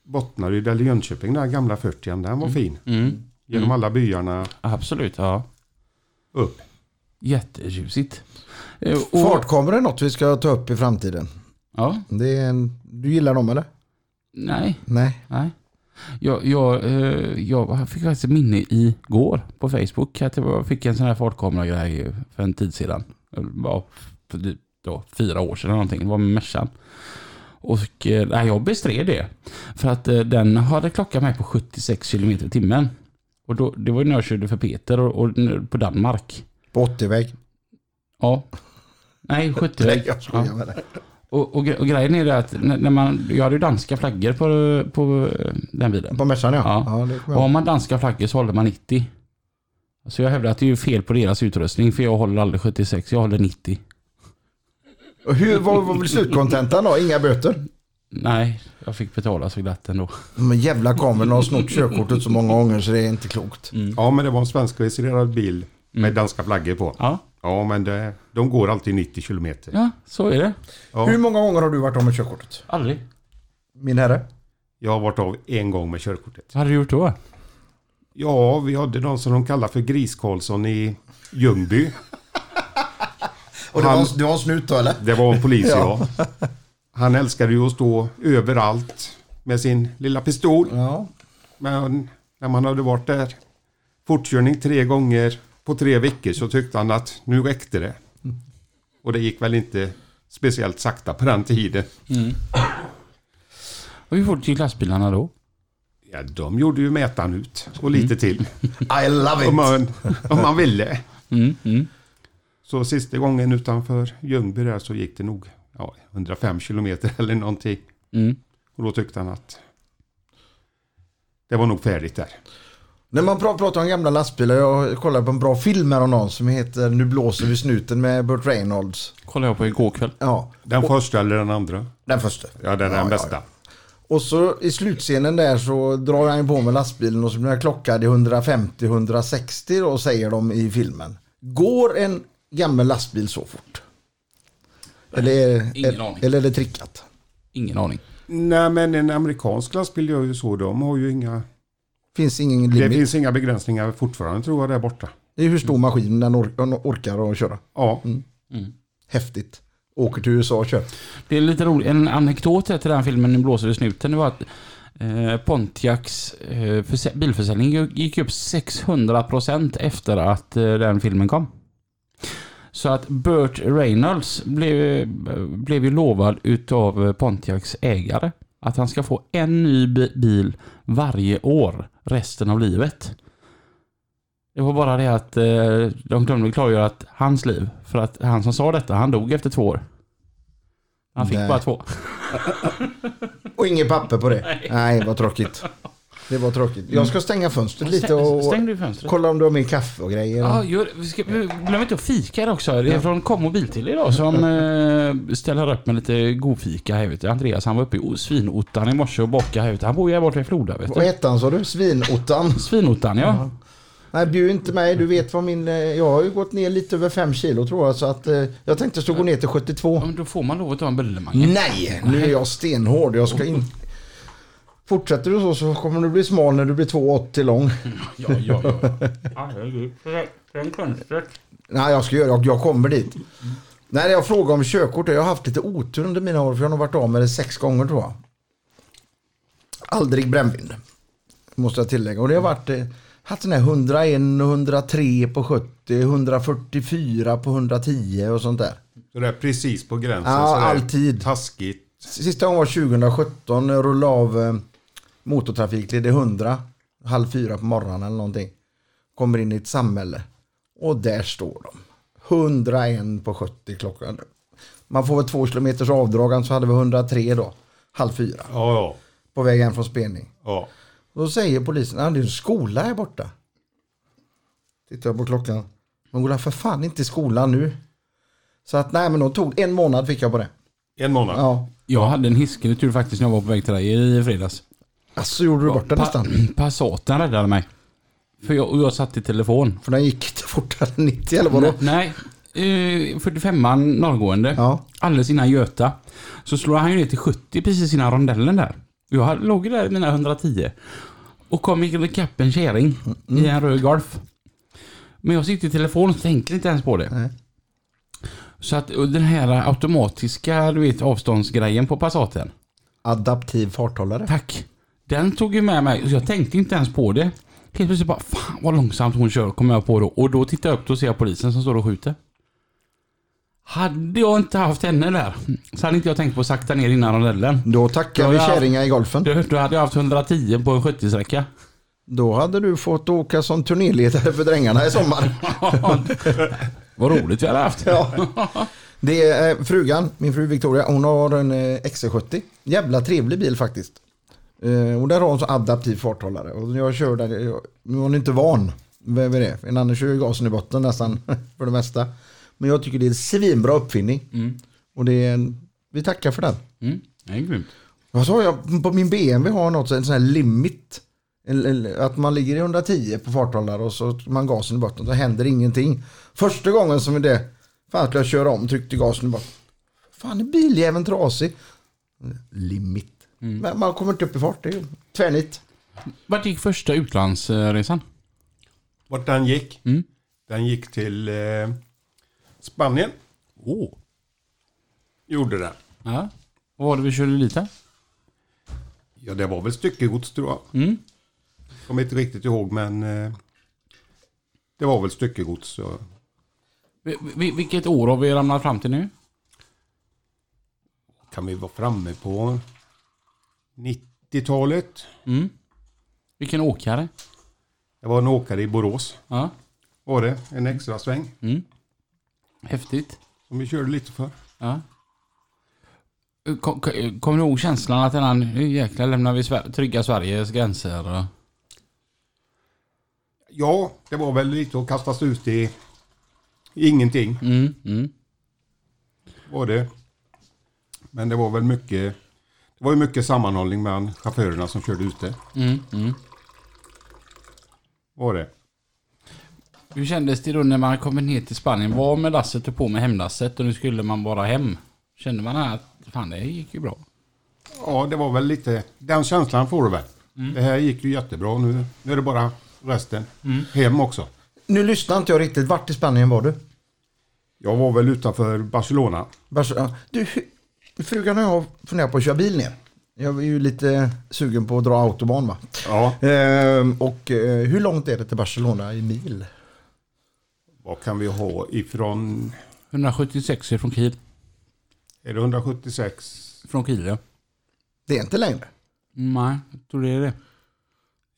Bottnaryd eller Jönköping, den här gamla 40 den var fin.
mm,
Genom alla byarna
absolut, ja.
upp.
Jättetjusigt. Eh, och-
Fartkameror är något vi ska ta upp i framtiden.
Ja,
Det är en, du gillar dem eller?
nej,
Nej.
nej. Jag, jag, eh, jag fick faktiskt ett minne igår på Facebook att jag fick en sån här fartkameragrej för en tid sedan. Ja, för typ då, fyra år sedan eller någonting. Det var med Mercan. Och eh, nej, jag bestred det. För att eh, den hade klockat mig på 76 km i timmen. Och då, det var ju när jag körde för Peter och, och nu på Danmark.
På 80-väg.
Ja. Nej, 70.
Nej, jag skojar med dig.
Och, och, gre- och grejen är det att när när man, jag hade ju danska flaggor på, på eh, den bilen.
På Mercan ja.
Ja.
det kommer jag
Och
ihåg.
har man danska flaggor så håller man 90. Så jag hävdar att det är ju fel på deras utrustning för jag håller aldrig 76, jag håller 90.
Och hur, vad vad blir slutkontentan då? Inga böter?
Nej, jag fick betala så glatt ändå.
De jävla kamerorna har snott körkortet så många gånger så det är inte klokt.
Ja, men det var en svenskregistrerad bil
Mm.
med danska flaggor på.
Ja,
Ja, men det, de går alltid 90 kilometer.
ja så är det.
Ja.
Hur många gånger har du varit av med körkortet?
Aldrig.
Min herre?
Jag har varit av en gång med körkortet.
Vad hade du gjort då?
Ja, vi hade någon som de kallar för Gris-Karlsson i Ljungby.
Och det,
Han-
var, en- det var en snut då eller?
Det var en polis, ja. Han älskade ju att stå överallt med sin lilla pistol.
Ja.
Men när man hade varit där fortkörning tre gånger på tre veckor så tyckte han att nu räckte det. Och det gick väl inte speciellt sakta på den tiden.
Mm. Och hur fort gick lastbilarna då?
Ja, de gjorde ju mätan ut och
Mm.
lite till.
I love
Om
it.
man, om man ville.
Mm, mm.
Så sista gången utanför Ljungby där så gick det nog ja, 105 kilometer eller någonting.
Mm.
Och då tyckte han att det var nog färdigt där.
När man pra- pratar om gamla lastbilar, jag kollade på en bra film häromdagen som heter Nu blåser vi snuten med Burt Reynolds.
Kollade jag på igår kväll.
Ja,
Den första eller den andra?
den första.
Ja, den är
Ja,
den
ja,
bästa.
Och så i slutscenen där så drar han ju på med lastbilen och så blir han klockad i 150-160 då säger de i filmen. Går en gammal lastbil så fort? Eller är,
Ingen
är,
aning.
eller är det trickat?
Ingen aning.
Nej, men en amerikansk lastbil gör ju så. De har ju inga...
Finns ingen
Det
limit.
finns inga begränsningar fortfarande tror jag där borta.
Det är hur stor maskin den or- den orkar att köra.
Ja,
Mm.
Häftigt. Åker till USA och kör.
Det är lite roligt, en anekdot här till den filmen Nu blåser det i snuten, det var att eh, Pontiacs eh, försä- bilförsäljning gick- gick upp 600% efter att eh, den filmen kom. Så att Burt Reynolds blev, blev ju lovad utav eh, Pontiacs ägare att han ska få en ny bi- bil varje år resten av livet. Det var bara det att eh, de glömde klargöra att hans liv, för att han som sa detta, han dog efter två år. Han fick
Nej.
bara två.
Och inget papper på det. Nej, vad tråkigt. Det var tråkigt. Jag ska stänga fönstret lite
Stäng-
och
Stäng du fönstret?
kolla om du har mer kaffe och grejer.
Ja, gör, vi ska, vi- glöm inte att fika där också. Det är från Kom och Biltill idag som eh, ställer upp med lite god fika här ute. Andreas han var uppe i o- Svinottan i morse och bakade här ute. Han bor ju här borta i Floda vet
Vad
du.
hette han sa du? Svinottan?
Svinottan ja.
Nej, bjud inte mig. Du vet vad min... eh, Jag har ju gått ner lite över 5 kilo tror jag. Så att eh, jag tänkte så gå ner till 72.
ja. men Då får man lov att ta en bullemange.
Nej, nu är jag stenhård. Jag ska in... Fortsätter du så så kommer du bli smal när du blir 2,80 lång.
Ja, ja, ja. Herregud. Från fönstret.
Nej, jag ska göra Jag kommer dit. Nej, jag frågade om körkort. Jag har haft lite otur under mina år. För jag har nog varit av med det sex gånger tror jag. Aldrig brännvin. Måste jag tillägga. Och det har varit... eh, Haft den här 101 och 103 på 70, 144 på 110 och sånt där.
Sådär precis på gränsen.
Ja,
sådär
alltid.
Taskigt.
Sista gången var 2017. Jag rullade av eh, motortrafikled i 100. Halv fyra på morgonen eller någonting. Kommer in i ett samhälle. Och där står de. 101 på 70 klockan. Man får väl två kilometers avdrag. Så hade vi 103 då. Halv fyra.
Ja, ja.
På väg hem från spelning.
ja.
Då säger polisen. Ah, det är en skola här borta. Tittar jag på klockan. De går för fan inte i skolan nu. Så att nej men de tog en månad fick jag på det.
En månad.
Ja.
Jag hade en hiskelig tur faktiskt när jag var på väg till dig i fredags.
Alltså gjorde du bort det nästan.
Passaten räddade mig. För jag, och jag satt i telefon.
För den gick inte fortare än 90 eller vadå?
Nej, eh, 45an norrgående.
Ja.
Alldeles innan Göta. Så slår han ju ner till 70 precis innan rondellen där. Jag hade- låg ju där i mina 110. Och kom ikapp en kärring i en röd Golf. Men jag sitter i telefon och tänker inte ens på det.
Nej.
Så att och den här automatiska du vet, avståndsgrejen på Passaten.
Adaptiv farthållare.
Tack. Den tog ju med mig, så jag tänkte inte ens på det. Helt plötsligt bara, fan vad långsamt hon kör, kommer jag på då. Och då tittar jag upp, då ser jag polisen som står och skjuter. Hade jag inte haft henne där, så hade inte jag tänkt på att sakta ner innan rondellen.
Då tackar
Ja,
vi
ja.
kärringar i golfen.
Då, då hade jag haft 110 på en 70-sträcka.
Då hade du fått åka som turnéledare för drängarna i sommar.
vad roligt vi hade haft.
Ja. Det är eh, frugan, min fru Victoria, hon har en eh, XC70. Jävla trevlig bil faktiskt. Eh, Och där har hon så adaptiv farthållare. Och jag kör där, jag- nu är hon inte van vid vid det. En annan kör ju gasen i botten nästan för det mesta. Men jag tycker det är en svinbra uppfinning. Och det är en, vi tackar för den.
Mm, det är grymt.
Vad sa jag? På min BMW har jag något, så- en sån här limit. En- en- Att man ligger i 110 på farthållare och så tar man gasen i botten så händer ingenting. Första gången som det, fan skulle jag köra om, tryckte gasen i botten. Fan är biljäveln trasig. Limit. Men man kommer inte upp i fart, det är ju tvärnit.
Vart gick första utlandsresan?
Vart den gick?
Mm.
Den gick till eh, Spanien.
Åh.
Gjorde den.
Ja. Vad var det vi körde dit här?
Ja, det var väl styckegods tror jag.
Mm.
Kommer inte riktigt ihåg men eh, det var väl styckegods. Så.
Vi- vi- Vilket år har vi ramlat fram till nu?
Kan vi vara framme på 90-talet?
Mm. Vilken åkare?
Det var en åkare i Borås.
Ja.
Var det? En extra sväng
Mm. Häftigt.
som vi körde lite för.
Ja. Kom- kom- Kommer du ihåg känslan att den här, nu jäklar lämnar vi Sver- trygga Sveriges gränser? och-
Ja, det var väl lite att kastas ut i ingenting
Mm, mm.
var det. Men det var väl mycket. Det var ju mycket sammanhållning mellan chaufförerna som körde ute.
Mm, mm.
Var det?
Hur kändes det då när man kom ner till Spanien? Var med lasset och på med hemlasset och nu skulle man bara hem. Kände man att fan det gick ju bra?
Ja, det var väl lite den känslan får du väl.
Mm.
Det här gick ju jättebra nu. Nu är det bara resten
Mm.
hem också.
Nu lyssnar inte jag riktigt, vart i Spanien var du?
Jag var väl utanför Barcelona.
Vars- ja, Du, hu- frugan och jag funderar på att köra bil ner. Jag är ju lite sugen på att dra autobahn va.
Ja,
Ehm, och eh, hur långt är det till Barcelona i mil?
vad kan vi ha ifrån?
176 är från Kiel.
Är det 176?
Från Kiel ja.
Det är inte längre.
Nej, jag tror det är det.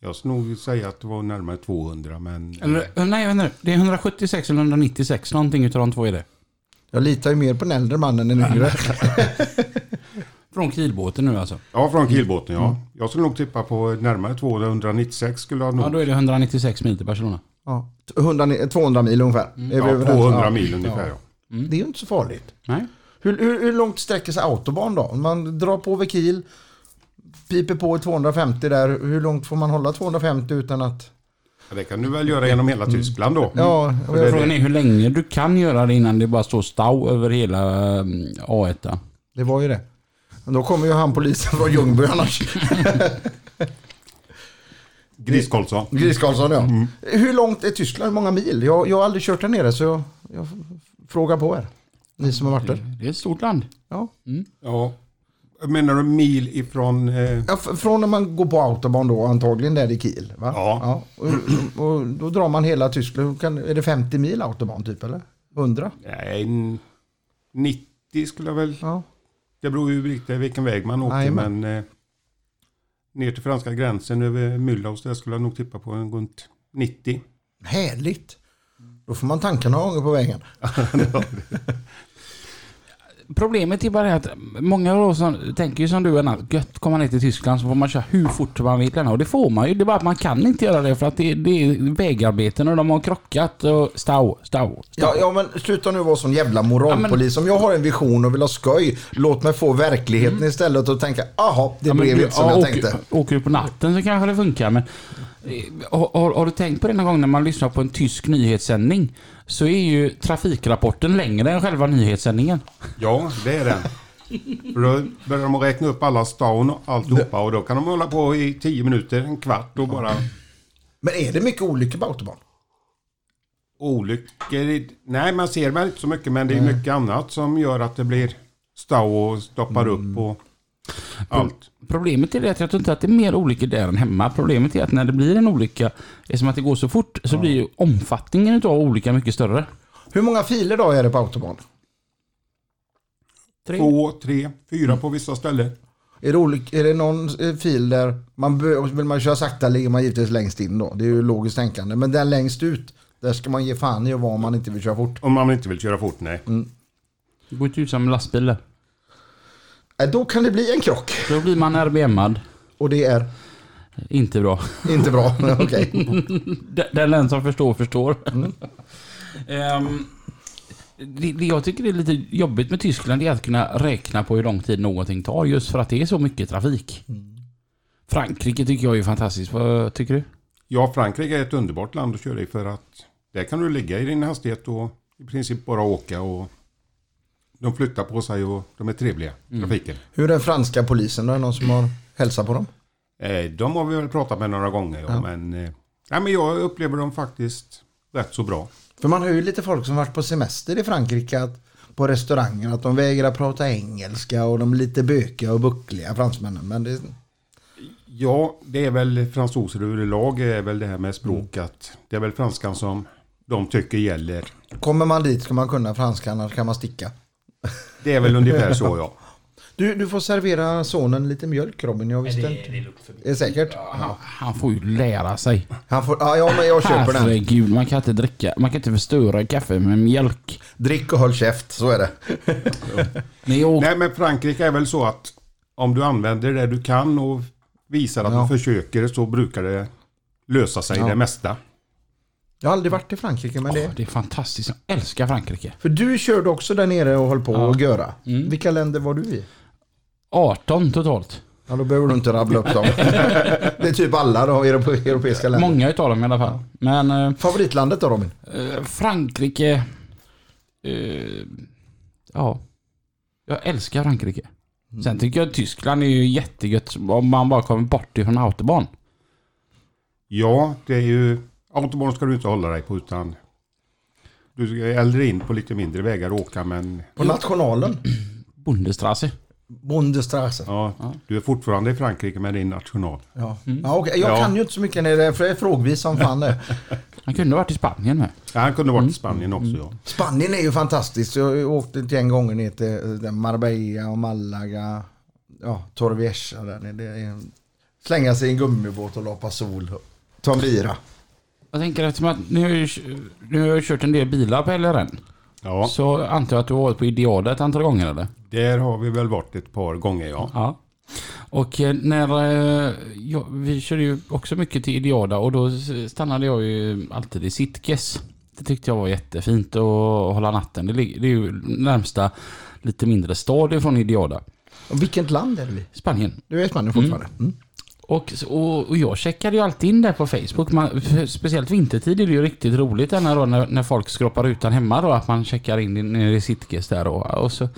Jag skulle nog säga att det var närmare 200 men...
Eller, nej, vänta nu. Det är 176 eller 196. Någonting utav de två är det.
Jag litar ju mer på den äldre mannen än den yngre.
Från Kielbåten nu alltså.
Ja, från Kielbåten ja. Jag skulle nog tippa på närmare 200, 196 skulle jag nog.
Ja, då är det 196 mil till Barcelona.
Ja. 100, 200 mil ungefär. Är vi
Mm. Ja,
överens?
200
Ja. Mm.
mil ungefär. Ja.
Det är ju inte så farligt.
Nej.
Hur, hur, hur långt sträcker sig autobahn då? Om Man drar på vid Kiel, piper på i 250 där. Hur långt får man hålla 250 utan att...
Ja. Det kan du väl göra genom hela Tyskland då?
Ja, och jag,
Frågan är hur länge du kan göra det innan det bara står stau över hela eh, A1.
det var ju det. Men Då kommer ju han polisen från Ljungby annars.
Gris Karlsson.
Gris Karlsson ja.
Mm.
Hur långt är Tyskland? Hur många mil? Jag, jag har aldrig kört där nere så jag, jag frågar på er. Ni som har varit
Mm.
där.
Det är ett stort land.
Ja.
Ja. Menar du mil ifrån... Eh,
Ja, f- från när man går på autobahn då antagligen där i Kiel. Va?
Ja.
Och, och då drar man hela Tyskland. Hur Kan, är det 50 mil autobahn typ eller? 100?
nej, n- 90 skulle jag väl...
Ja.
Det beror ju lite vilken väg man åker
Jajamän.
men... Eh, ner till franska gränsen över Mühlaus, där skulle jag nog tippa på en runt 90.
Härligt. Då får man tanka några gånger på vägen.
Problemet är bara det att många av oss som- tänker ju som du, Anna, gött kommer man ner till Tyskland så får man köra hur fort man vill. Och det får man ju, det är bara att man kan inte göra det för att det, det är vägarbeten och de har krockat och stau, stau.
Ja, ja men sluta nu vara sån jävla moralpolis. Om jag har en vision och vill ha skoj, låt mig få verkligheten istället och tänka, aha, det
Mm. Ja,
blev
men du-
inte som
ja,
jag
åker-
tänkte.
Åker du på natten så kanske det funkar men eh, har, har- har du tänkt på det någon gång när man lyssnar på en tysk nyhetssändning så är ju trafikrapporten längre än själva nyhetssändningen.
Ja, det är den. För då börjar de att räkna upp alla stan och alltihopa och då kan de hålla på i 10 minuter, en kvart och bara...
Men är det mycket olyckor på autobahn?
olyckor. i- Nej, man ser väl inte så mycket, men det är mycket annat som gör att det blir stau och stoppar upp och allt.
Problemet är det att jag tror inte att det är mer olyckor där än hemma. Problemet är att när det blir en olycka, eftersom att det går så fort, så blir ju omfattningen av olyckan mycket större.
Hur många filer då är det på autobahn?
Två, tre, fyra på vissa ställen.
Är det, olyck- är det någon eh, fil där man bör, vill man köra sakta ligger man givetvis längst in då. Det är ju logiskt tänkande. Men den längst ut, där ska man ge fan i och vara om man inte vill köra fort.
Om man inte vill köra fort, nej.
Det går inte ut som en lastbil där.
Eh, Då kan det bli en krock
Då blir man RBMad.
och det är
Inte bra.
inte bra. Okej.
Den- Den den som förstår förstår. Ehm, det, det jag tycker är lite jobbigt med Tyskland är att kunna räkna på hur lång tid någonting tar just för att det är så mycket trafik. Frankrike tycker jag är fantastiskt. Vad tycker du?
Ja, Frankrike är ett underbart land att köra i för att där kan du ligga i din hastighet och i princip bara åka och de flyttar på sig och de är trevliga, trafiken.
Hur är den franska polisen? Är det någon som har hälsat på dem?
Eh, de har vi väl pratat med några gånger, ja, men, eh, nej, men jag upplever dem faktiskt rätt så bra.
För man hör ju lite folk som varit på semester i Frankrike att på restauranger att de vägrar prata engelska och de är lite bökiga och buckliga fransmännen. Men det,
Ja, det är väl fransoser överlag är väl det här med språk att det är väl franskan som de tycker gäller.
kommer man dit ska man kunna franska annars kan man sticka.
Det är väl ungefär så ja.
Du, du får servera sonen lite mjölk Robin. Jag visste
Det,
inte.
det är lugnt förbi.
Är det säkert?
Han, han får ju lära sig.
Han får, ja, ja, men jag köper den.
Herregud, man kan inte dricka, man kan inte förstöra kaffe med mjölk.
Drick och håll käft, så är det.
När jag åkte,
Nej men Frankrike är väl så att om du använder det du kan och visar att
Ja.
du försöker så brukar det lösa sig
Ja.
det mesta.
Jag har aldrig varit i Frankrike, men det...
det är fantastiskt, jag älskar Frankrike.
För du körde också där nere och höll på att göra. Vilka länder var du i?
18 totalt.
Ja, då behöver du inte rabbla upp dem. det är typ alla då, europe- europeiska länder.
Många utav dem i alla fall. Men eh,
Favoritlandet då Robin?
Eh, Frankrike... Eh, ja. Jag älskar Frankrike.
Mm.
Sen tycker jag att Tyskland är ju jättegött om man bara kommer bort ifrån autobahn.
Ja, det är ju autobahn ska du inte hålla dig på utan du ska hellre in på lite mindre vägar och åka men
På nationalen?
Bundesstraße.
Bundesstraße.
ja, du är fortfarande i Frankrike med din national.
Ja. Mm. Ja, okej. Jag
Ja.
kan ju inte så mycket nere, för jag är frågvis som fan det.
Han kunde ha varit i Spanien med.
Ja, han kunde varit i Spanien också ja.
Spanien är ju fantastiskt. Jag åkte ett gäng gånger ner till eh, där Marbella och Malaga. Ja, Torrevieja där nere. Det är- Slänga sig i en gummibåt och lapa sol. Ta en bira.
Jag tänker eftersom att nu har, jag ju, nu har jag ju kört en del bilar på LRN.
ja.
Så antar jag att du har varit på Idealet ett antal gånger eller?
Där har vi väl varit ett par gånger ja.
Ja. Och eh, när eh, jag, vi körde ju också mycket till Ideada och då s- stannade jag ju alltid i Sitges. Det tyckte jag var jättefint att hålla natten. Det, lig- det är ju närmsta lite mindre stad ifrån Ideada,
Och vilket land är det vi?
Spanien.
Du är Spanien fortfarande? Mm.
Och, och, och jag checkade ju alltid in där på Facebook. Man, för- speciellt vintertid är det ju riktigt roligt den här då, när, när folk skroppar utan hemma då, att man checkar in i- nere i Sitges där då. Och så,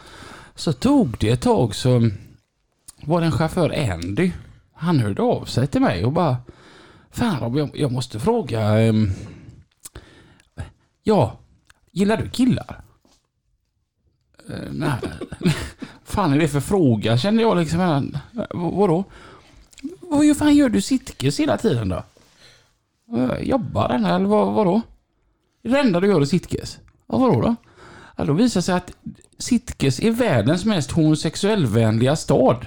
så tog det ett tag så var det en chaufför, Andy, han hörde av sig till mig och bara Fan Robin, jag, jag måste fråga. ehm, ja, gillar du killar? Eh, nej. fan är det för fråga kände jag liksom. Eh, Vadå? Vad ju fan gör du sittkes hela tiden då? Eh, Jobbar den här eller vad, vadå? Det är det enda du gör är sittkes? Ja, vadå då? Ja, då visar det sig att Sitges är världens mest homosexuellvänliga stad.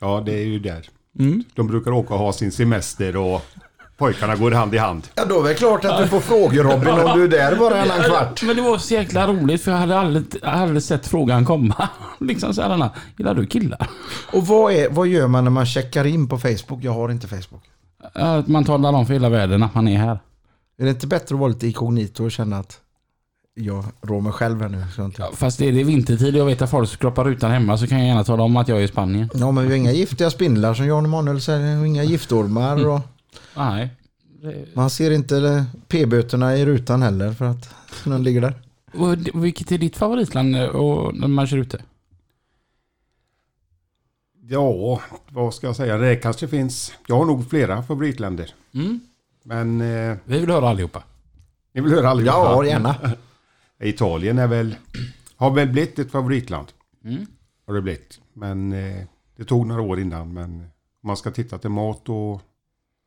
Ja, det är ju där. De brukar åka och ha sin semester och pojkarna går hand i hand.
Ja, då är det klart att du får frågor Robin om du är där bara en annan kvart.
Men det var så jäkla roligt för jag hade aldrig, aldrig sett frågan komma. Liksom så här, Anna, gillar du killar?
Och vad, är, vad gör man när man checkar in på Facebook? Jag har inte Facebook.
Att man talar om för hela världen att man är här.
Är det inte bättre att vara lite inkognito och känna att jag rår mig själv här nu? Så jag inte...
Ja, Fast är det vintertid och jag vet att folk skroppar utan hemma så kan jag gärna tala om att jag är i Spanien.
Ja, men vi har inga giftiga spindlar som Jan Emanuel säger och inga giftormar. Och
Nej. Eh,
man ser inte p-böterna i rutan heller för att någon ligger där.
Och d- vilket är ditt favoritland eh, och när man kör ute?
Ja, vad ska jag säga? Det kanske finns. Jag har nog flera favoritländer.
Mm.
Men eh,
Vi vill höra allihopa.
ni vill höra allihopa?
Ja, gärna.
Italien är väl, har väl blivit ett favoritland.
Mm.
Har det blivit. Men eh, det tog några år innan. Men om man ska titta till mat och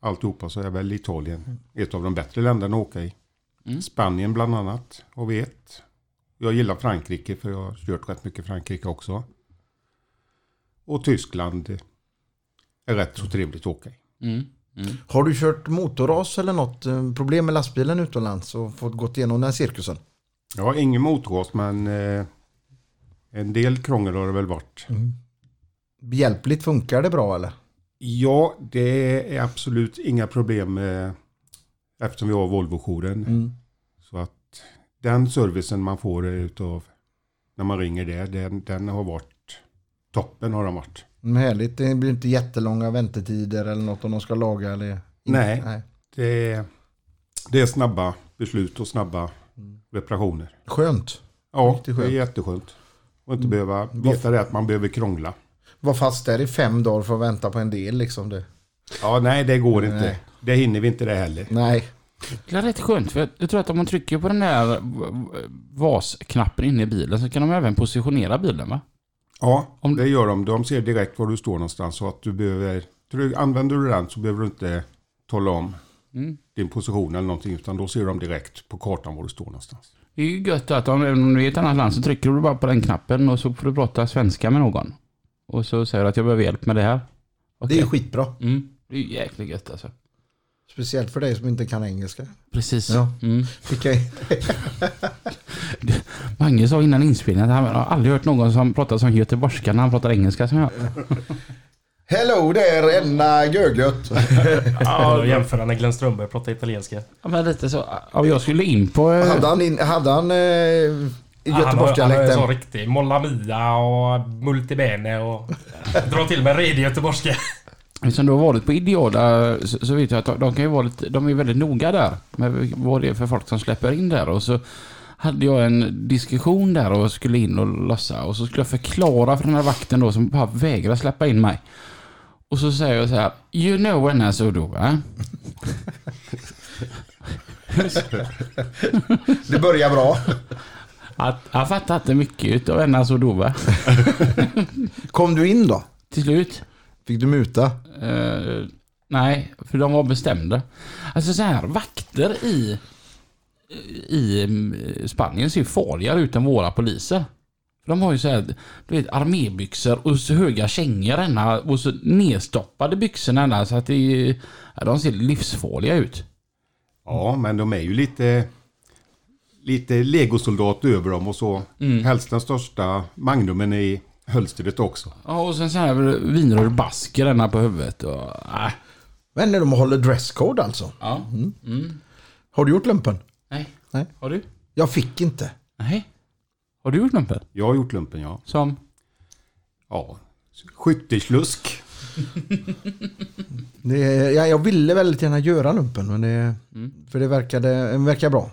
alltihopa så är väl Italien ett av de bättre länderna att åka i.
Mm.
Spanien bland annat har vi ett. Jag gillar Frankrike för jag har kört rätt mycket Frankrike också. Och Tyskland är rätt så trevligt att åka i.
Mm. Mm.
Har du kört motorras eller något eh, problem med lastbilen utomlands och fått gått igenom den här cirkusen?
Jag har ingen motgas men eh, en del krångel har det väl varit.
Behjälpligt funkar det bra eller?
Ja, det är absolut inga problem eh, eftersom vi har Volvo-jouren.
Mm.
Så att den servicen man får utav när man ringer där, den, den har varit toppen har den varit.
Mm, härligt, det blir inte jättelånga väntetider eller något om de ska laga eller? inte.
Nej. Det, är- det är snabba beslut och snabba reparationer.
Skönt.
Ja, det
Riktigt
är
skönt.
jätteskönt. Och inte behöva veta det att man behöver krångla.
Var fast där i fem dagar för att vänta på en del liksom. Det.
Ja, nej det går inte.
Nej.
Det hinner vi inte det heller.
Nej.
Det är rätt skönt för jag- jag tror att om man trycker på den där v- VAS-knappen inne i bilen så kan de även positionera bilen va?
Ja,
Om-
det gör de. De ser direkt var du står någonstans. Så att du behöver, tryck- använder du den så behöver du inte tala om
Mm.
din position eller någonting. Utan då ser de direkt på kartan var du står någonstans.
Det är ju gött att om, även om du är i ett annat land så trycker du bara på den knappen och så får du prata svenska med någon. Och så säger du att jag behöver hjälp med det här.
Det
Okej.
är ju skitbra.
mm. det är ju jäkligt gött alltså.
Speciellt för dig som inte kan engelska.
Precis.
Ja.
Mm.
Fick jag-
Mange sa innan inspelningen att han har aldrig hört någon som pratar som göteborgska när han pratar engelska som jag.
Hello there, Enna Göglött.
Ja, och jämföra när Glenn Strömberg pratar italienska.
Ja, men lite så. Ja, jag skulle in på... eh,
Hade han, in, hade han eh,
Han är så
Göteborgsdialekten?
riktig. Molla Mia och Multibene och... Dra till med redig göteborgska.
Eftersom du har varit på Ideala så, så vet jag att de, de kan ju vara lite, de är väldigt noga där med vad det är för folk som släpper in där och så hade jag en diskussion där och skulle in och lossa och så skulle jag förklara för den här vakten då som bara vägrar släppa in mig. Och så säger jag så här, you know when I saw do, va?
Det börjar bra.
Att jag fattar inte mycket utav en alltså då, va?
Kom du in då?
Till slut
Fick du muta?
Eh, nej, för de var bestämda. Alltså så här, vakter i, i eh, Spanien ser ju farligare ut än våra poliser. För de har ju så här, du vet, armébyxor och så höga kängor ända och så nedstoppade byxorna ända så att det är- ja, de ser livsfarliga ut. Mm.
Ja, men de är ju lite,
Mm.
lite legosoldat över dem och så. Helst den största magnumen i hölstret också.
Ja, och sen så här vinröd basker denna på huvudet. Och, äh.
Men när de håller dresscode alltså.
ja. Mm.
Har du gjort lumpen?
Nej.
Nej.
Har du?
Jag fick inte.
Nej. Har du gjort lumpen?
Jag har gjort lumpen ja.
Som?
Ja. Skytteslusk.
Det, jag, jag ville väldigt gärna göra lumpen. Men det,
Mm.
För det verkade, den verkar bra.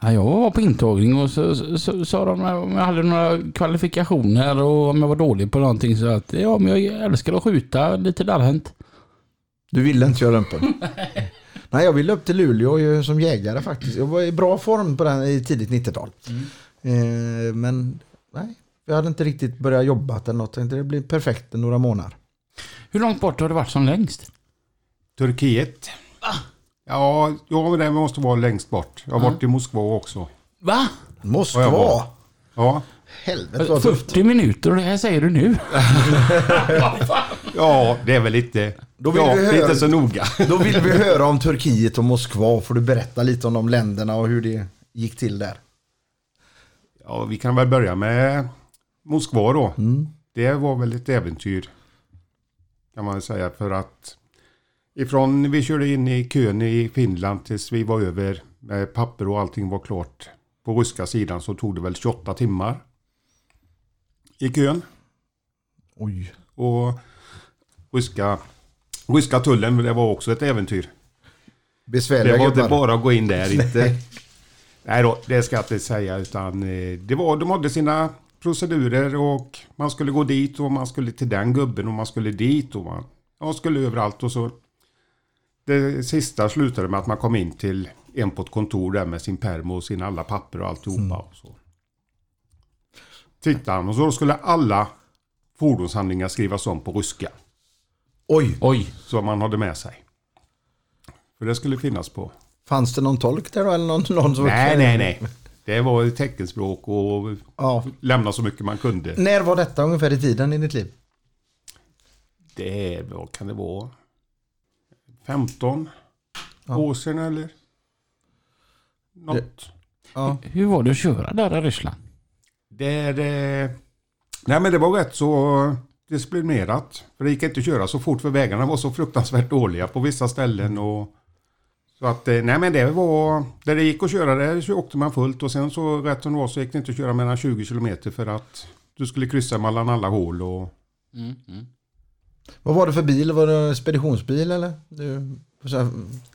Ja, jag var på intagning och så så- så sa de om jag hade några kvalifikationer och om jag var dålig på någonting. Så att ja, men jag älskar att skjuta lite darrhänt.
Du ville inte göra lumpen? Nej, jag ville upp till Luleå ju som jägare faktiskt. Jag var i bra form på den i tidigt 90-tal.
Mm.
Eh, men nej, jag hade inte riktigt börjat jobba eller något. Tänkte det blir perfekt i några månader.
Hur långt bort har det varit som längst?
Turkiet.
Ah.
Ja, ja, det måste vara längst bort. Jag har varit i Moskva också.
Va?
Moskva!
Ja, jag var. Ja,
Helvete vad tufft.
40 Alltså, minuter och det här säger du nu?
ja det är väl lite...
Då vill
ja,
vi
det är
höra-
inte så noga.
Då vill vi höra om Turkiet och Moskva. Får du berätta lite om de länderna och hur det gick till där?
Ja, vi kan väl börja med Moskva då.
Mm.
Det var väl ett äventyr. Kan man säga för att ifrån vi körde in i kön i Finland tills vi var över med papper och allting var klart. På ryska sidan så tog det väl 28 timmar i kön.
Oj.
Och ryska, ryska tullen, det var också ett äventyr.
Besvärliga
Det var inte
gubbar.
bara att gå in där inte. Nej då, det ska jag inte säga utan eh, det var, de hade sina procedurer och man skulle gå dit och man skulle till den gubben och man skulle dit och man ja, skulle överallt och så. Det sista slutade med att man kom in till en på ett kontor där med sin perm och sina alla papper och alltihopa. Och så. Tittade han och så skulle alla fordonshandlingar skrivas om på ryska
Oj,
Oj.
som man hade med sig. För det skulle finnas på
fanns det någon tolk där då? Eller någon, någon som
Nej, nej, nej. Det var ju teckenspråk och
Ja.
lämna så mycket man kunde.
När var detta ungefär i tiden i ditt liv?
Det är, vad kan det vara? 15 år sedan eller? Något.
Ja.
Hur var det att köra där i Ryssland?
Det, det, nej men det var rätt så disciplinerat. För det gick inte att köra så fort för vägarna var så fruktansvärt dåliga på vissa ställen. Och, så att eh, nej men det var, där det gick att köra där så åkte man fullt och sen så rätt som det var så gick det inte att köra mer än 20 kilometer för att du skulle kryssa mellan alla hål och
Vad var det för bil? Var det speditionsbil eller? Du, så här,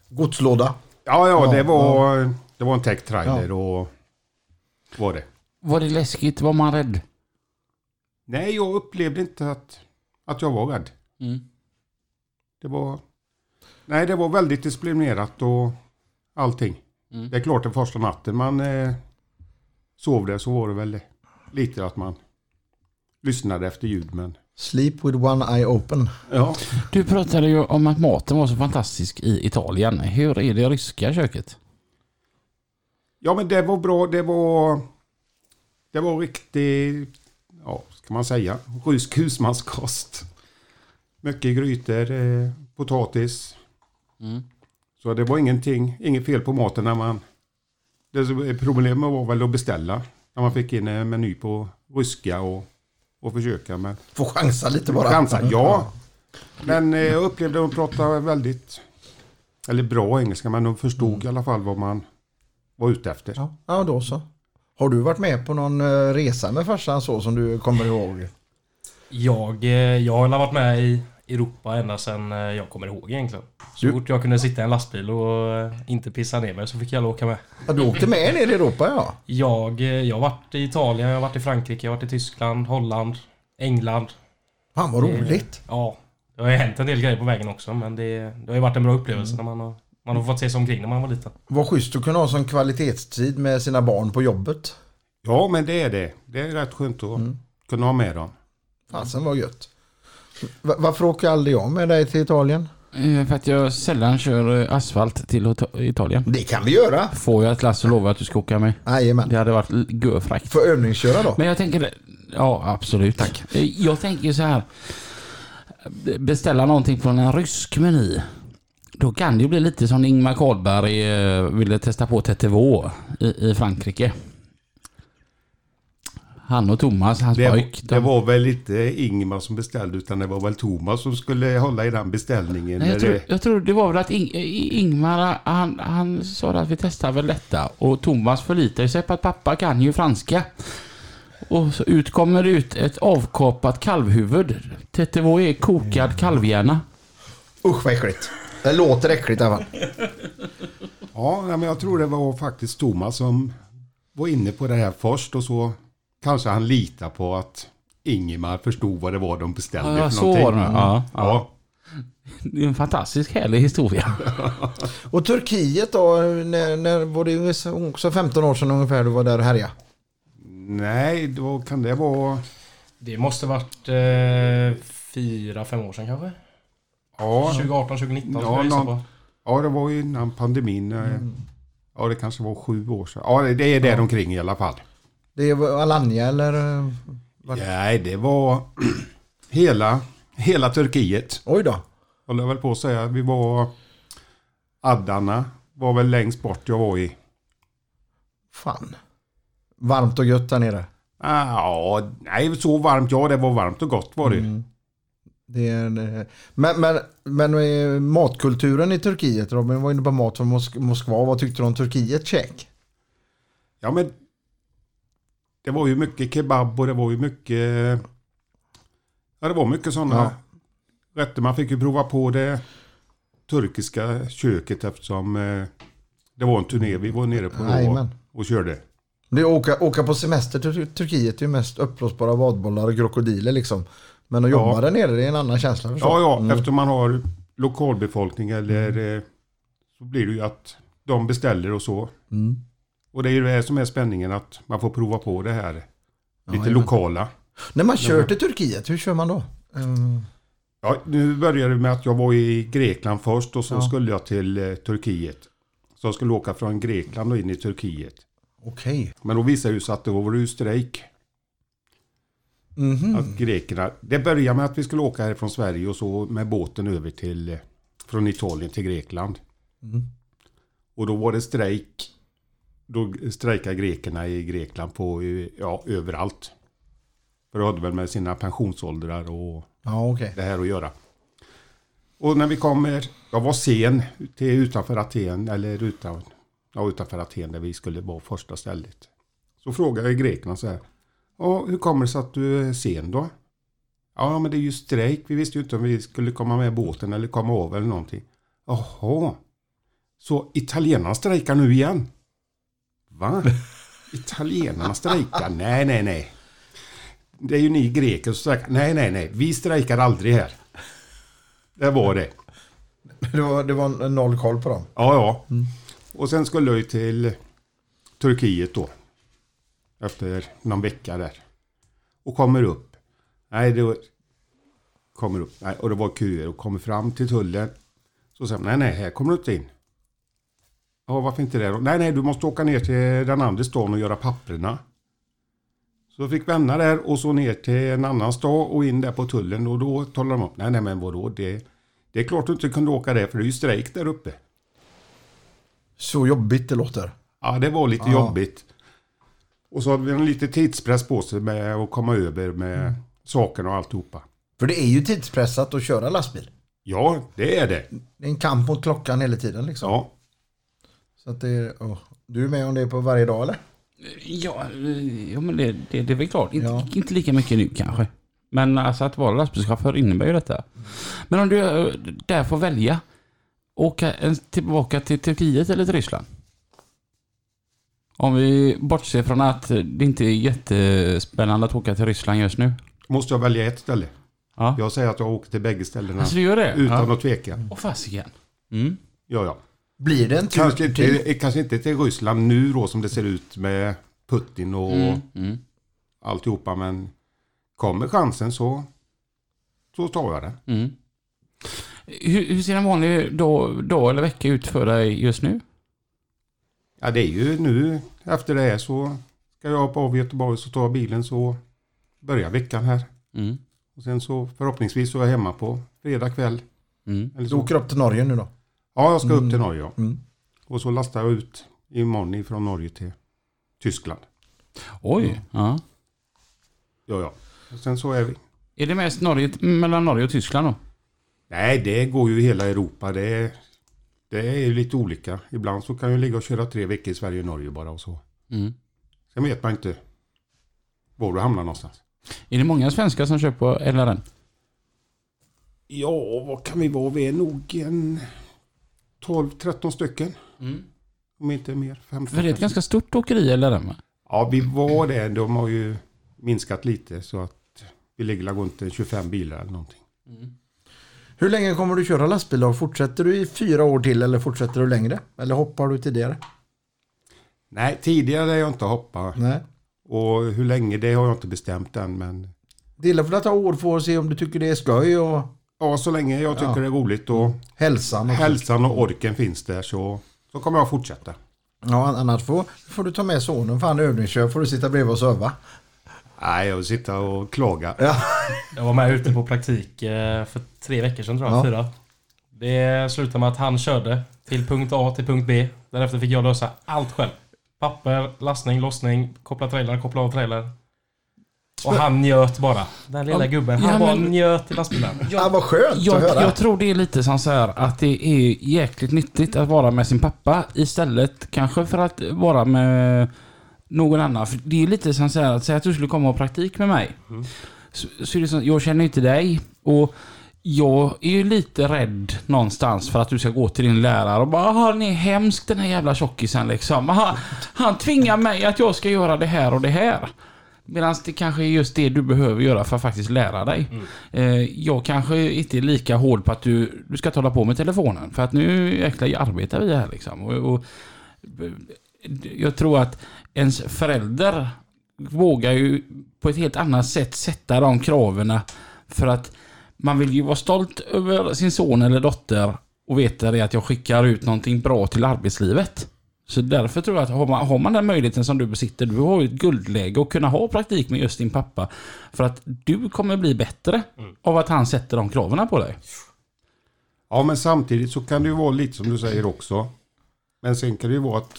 godslåda?
Ja, ja,
Ja,
det var, Det var en tech trailer och var det.
Var det läskigt? Var man rädd?
Nej, jag upplevde inte att, att jag var rädd. Det var, nej, det var väldigt disciplinerat och allting. Det är klart den första natten man eh, sov där så var det väl lite att man lyssnade efter ljud. Men,
Sleep with one eye open.
ja.
Du pratade ju om att maten var så fantastisk i Italien. Hur är det ryska köket?
ja, men det var bra. Det var, det var riktigt, ja, ska man säga, rysk husmanskost. Mycket grytor, eh, potatis. Så det var ingenting, inget fel på maten när man... Det som- problemet var väl att beställa. När man fick in en meny på ryska och, och försöka. Men
Får chansa lite bara. Mm.
chansa, ja. Men eh, jag upplevde att de pratade väldigt, eller bra engelska, men de förstod i alla fall vad man var ute efter.
ja. Ja, då så. Har du varit med på någon eh, resa med farsan så som du kommer ihåg?
Jag, eh, jag har väl varit med i Europa ända sedan eh, jag kommer ihåg egentligen. Så
Du-
fort jag kunde sitta i en lastbil och eh, inte pissa ner mig så fick jag åka med.
Ja, du åkte med ner i Europa ja.
Jag, eh, jag har varit i Italien, jag har varit i Frankrike, jag har varit i Tyskland, Holland, England.
Fan vad roligt.
Ja, det har ju hänt en del grejer på vägen också men det, det har ju varit en bra upplevelse när man har, man har fått se sig omkring när man var liten.
Vad schysst att kunna ha sån kvalitetstid med sina barn på jobbet.
Ja, men det är det. Det är rätt skönt att
Mm.
kunna ha med dem.
Fasen var gött. Va- Varför åker aldrig jag med dig till Italien?
Eh, För att jag sällan kör eh, asfalt till Ota- Italien.
Det kan vi göra.
Får jag ett lass så lovar jag att du ska åka med.
Jajamän.
Det hade varit l- görfräckt.
För övningsköra då?
Men jag tänker, ja absolut. Tack. Jag tänker så här. Beställa någonting från en rysk meny. Då kan det ju bli lite som Ingmar Karlberg eh, ville testa på TTV i, i Frankrike. Han och Thomas, hans
Det,
pojk.
det var väl inte Ingmar som beställde utan det var väl Thomas som skulle hålla i den beställningen.
Nej,
När
jag, tror,
det,
jag tror det var väl att Ing, I- Ingmar, han, han sa att vi testar väl detta. Och Thomas förlitar sig på att pappa kan ju franska. Och så ut kommer det ut ett avkapat kalvhuvud. Tetevå är kokad kalvhjärna.
Usch vad äckligt. Det låter äckligt i alla fall.
ja, nej, men jag tror det var faktiskt Thomas som var inne på det här först och så kanske han litar på att Ingmar förstod vad det var de beställde
Ja,
för
så
någonting. Mm.
var det. Ja,
ja.
Det är en fantastisk härlig historia.
Och Turkiet då, när, när var det också 15 år sedan ungefär du var där och härjade?
Nej, då kan det vara...
Det måste varit eh, fyra, fem år sedan kanske?
Ja,
2018, 2019
Ja,
skulle jag gissa
någon-
på.
ja det var ju innan pandemin. eh,
Mm.
Ja, det kanske var sju år sedan. Ja, det- det är där omkring i alla fall.
Det var Alanya eller? eh, Vart?
Nej, det var hela, hela Turkiet.
Oj då.
Håller jag väl på att säga. Vi var... Adana var väl längst bort jag var i.
Fan. Varmt och gött där nere.
Ah, Ja, nej så varmt. Ja, det var varmt och gott var det ju.
Mm. Det är, en, eh, men, men, men eh, matkulturen i Turkiet, Robin var inne på mat från Mosk- Moskva. Vad tyckte du om Turkiet? Check.
Ja, men... Det var ju mycket kebab och det var ju mycket... Ja, det var mycket sådana
Ja.
rätter. Man fick ju prova på det turkiska köket eftersom eh, det var en turné vi var nere på då
Jajamän.
och körde.
Det är åka, åka på semester till Turkiet är ju mest uppblåsbara vadbollar och krokodiler liksom. Men att jobba
Ja.
där nere det är en annan känsla förstås.
Ja, ja,
Mm.
eftersom man har lokalbefolkning eller eh, så blir det ju att de beställer och så.
Mm.
Och det är ju det som är spänningen att man får prova på det här lite
jajamän.
lokala.
När man kör till Turkiet, hur kör man då? Eh,
Ja, nu började det med att jag var i Grekland först och så
Ja.
skulle jag till eh, Turkiet. Så jag skulle åka från Grekland och in i Turkiet.
Okej.
Men då visade det sig att det var ju strejk.
Mhm.
Att grekerna, det började med att vi skulle åka härifrån Sverige och så med båten över till eh, från Italien till Grekland.
Mm.
Och då var det strejk. Då strejkade grekerna i Grekland på eh, ja, överallt. För det hade väl med sina pensionsåldrar och
Ja, okej.
det här att göra. Och när vi kommer, jag var sen till utanför Aten, eller utan, ja, utanför Aten där vi skulle vara första stället. Så frågade jag grekerna så här, ja, hur kommer det sig att du är sen då? Ja, men det är ju strejk, vi visste ju inte om vi skulle komma med båten eller komma av eller någonting. Jaha, så italienarna strejkar nu igen? Va? Italienarna strejkar? Nej, nej, nej. Det är ju ni greker som strejkar. Nej, nej, nej. Vi strejkar aldrig här. Det var det.
Det, var, det var noll koll på dem.
Ja, ja. Och sen skulle jag ju till Turkiet då. Efter någon vecka där. Och kommer upp. Nej, det var... Kommer upp. Nej, och det var köer och kommer fram till tullen. Så säger de, nej, nej, här kommer du inte in. Ja, varför inte det då? Nej, nej, du måste åka ner till den andra stan och göra papperna. Så fick vända där och så ner till en annan stad och in där på tullen och då talade de upp. Nej, nej, men vadå? Det, det är klart du inte kunde åka där för det är ju strejk där uppe.
Så jobbigt det låter.
Ja, det var lite jobbigt. Och så hade vi en lite tidspress på sig med att komma över med sakerna och alltihopa.
För det är ju tidspressat att köra lastbil.
Ja, det är det.
Det är en kamp mot klockan hela tiden liksom.
Ja,
Så att det är, åh. Du är med om det på varje dag eller?
Ja, eh, ja men det, det, det är väl klart. Inte,
Ja.
inte lika mycket nu kanske. Men alltså att vara lastbilschaufför innebär ju detta. Men om du eh, där får välja. Åka en- tillbaka till Turkiet eller till Ryssland? Om vi bortser från att det inte är jättespännande att åka till Ryssland just nu.
måste jag välja ett ställe.
Ja.
Jag säger att jag åker till bägge ställena
Alltså du gör det?
utan
ja.
att tveka.
Åh fasiken. Mm.
Ja, ja.
Blir det en tur
Kanske,
till?
inte, eh, kanske inte till Ryssland nu då som det ser ut med Putin och
Mm. Mm.
alltihopa, men kommer chansen så, så tar jag den.
Mm. Hur, hur ser en vanlig dag, dag eller vecka ut för dig just nu?
Ja, det är ju nu efter det här så ska jag hoppa av i Göteborg så tar jag bilen så börjar veckan här.
Mm.
Och sen så förhoppningsvis så är jag hemma på fredag kväll.
Mm.
Eller
Du
så.
åker upp till Norge nu då?
Ja, jag ska upp till
Mm.
Norge. Ja.
Mm.
Och så lastar jag ut imorgon från Norge till Tyskland.
Oj. Ja.
Ja, ja. Och sen så är vi.
Är det mest Norge, mellan Norge och Tyskland då?
Nej, det går ju i hela Europa. Det är, det är ju lite olika. Ibland så kan jag ligga och köra tre veckor i Sverige och Norge bara och så.
Mm.
Sen vet man inte var du hamnar någonstans.
Är det många svenskar som kör på LRN?
Ja, vad kan vi vara? Vi är nog en 12-13 stycken. Om inte mer. 15
För det är ett
kanske.
ganska stort åkeri LRN va?
Ja, vi var det. De har ju minskat lite så att vi ligger runt en 25 bilar eller någonting.
Hur länge kommer du köra lastbil då? Fortsätter du i fyra år till eller fortsätter du längre? Eller hoppar du tidigare?
Nej, tidigare har jag inte hoppat.
Nej.
Och hur länge det har jag inte bestämt än. Men
Det gäller väl att ta år på och se om du tycker det är skoj och
ja, så länge jag tycker
Ja.
det är roligt och
hälsan. Och
hälsan och orken finns där så, så kommer jag fortsätta.
ja, annars får, får du ta med sonen för han övningskör får du sitta bredvid och söva.
Nej, jag vill sitta och klaga.
Jag var med ute på praktik eh, för tre veckor sedan tror jag,
Ja.
fyra. Det slutade med att han körde till punkt A till punkt B. Därefter fick jag lösa allt själv. Papper, lastning, lossning, koppla trailer, koppla av trailer. Och han njöt bara. Den lilla
Ja,
gubben.
ja,
Han bara
men-
njöt i lastbilen.
Ja, vad skönt
Jag,
att höra.
jag tror det är lite som så här att det är jäkligt nyttigt att vara med sin pappa istället kanske för att vara med någon annan. För det är lite som så här att säga att du skulle komma och praktik med mig.
Mm.
Så, så är det som, jag känner ju inte dig och jag är ju lite rädd någonstans för att du ska gå till din lärare och bara "Ah, han är hemsk den här jävla tjockisen liksom. Han, han tvingar mig att jag ska göra det här och det här. Medan det kanske är just det du behöver göra för att faktiskt lära dig. Eh, jag kanske inte är lika hård på att du, du ska tala på med telefonen. För att nu jäklar arbetar vi här liksom. Och, och, jag tror att ens förälder vågar ju på ett helt annat sätt sätta de kraven. För att man vill ju vara stolt över sin son eller dotter och veta det att jag skickar ut någonting bra till arbetslivet. Så därför tror jag att har man, har man den möjligheten som du besitter, du har ju ett guldläge att kunna ha praktik med just din pappa. För att du kommer bli bättre
Mm.
av att han sätter de kraven på dig.
Ja, men samtidigt så kan det ju vara lite som du säger också. Men sen kan det ju vara att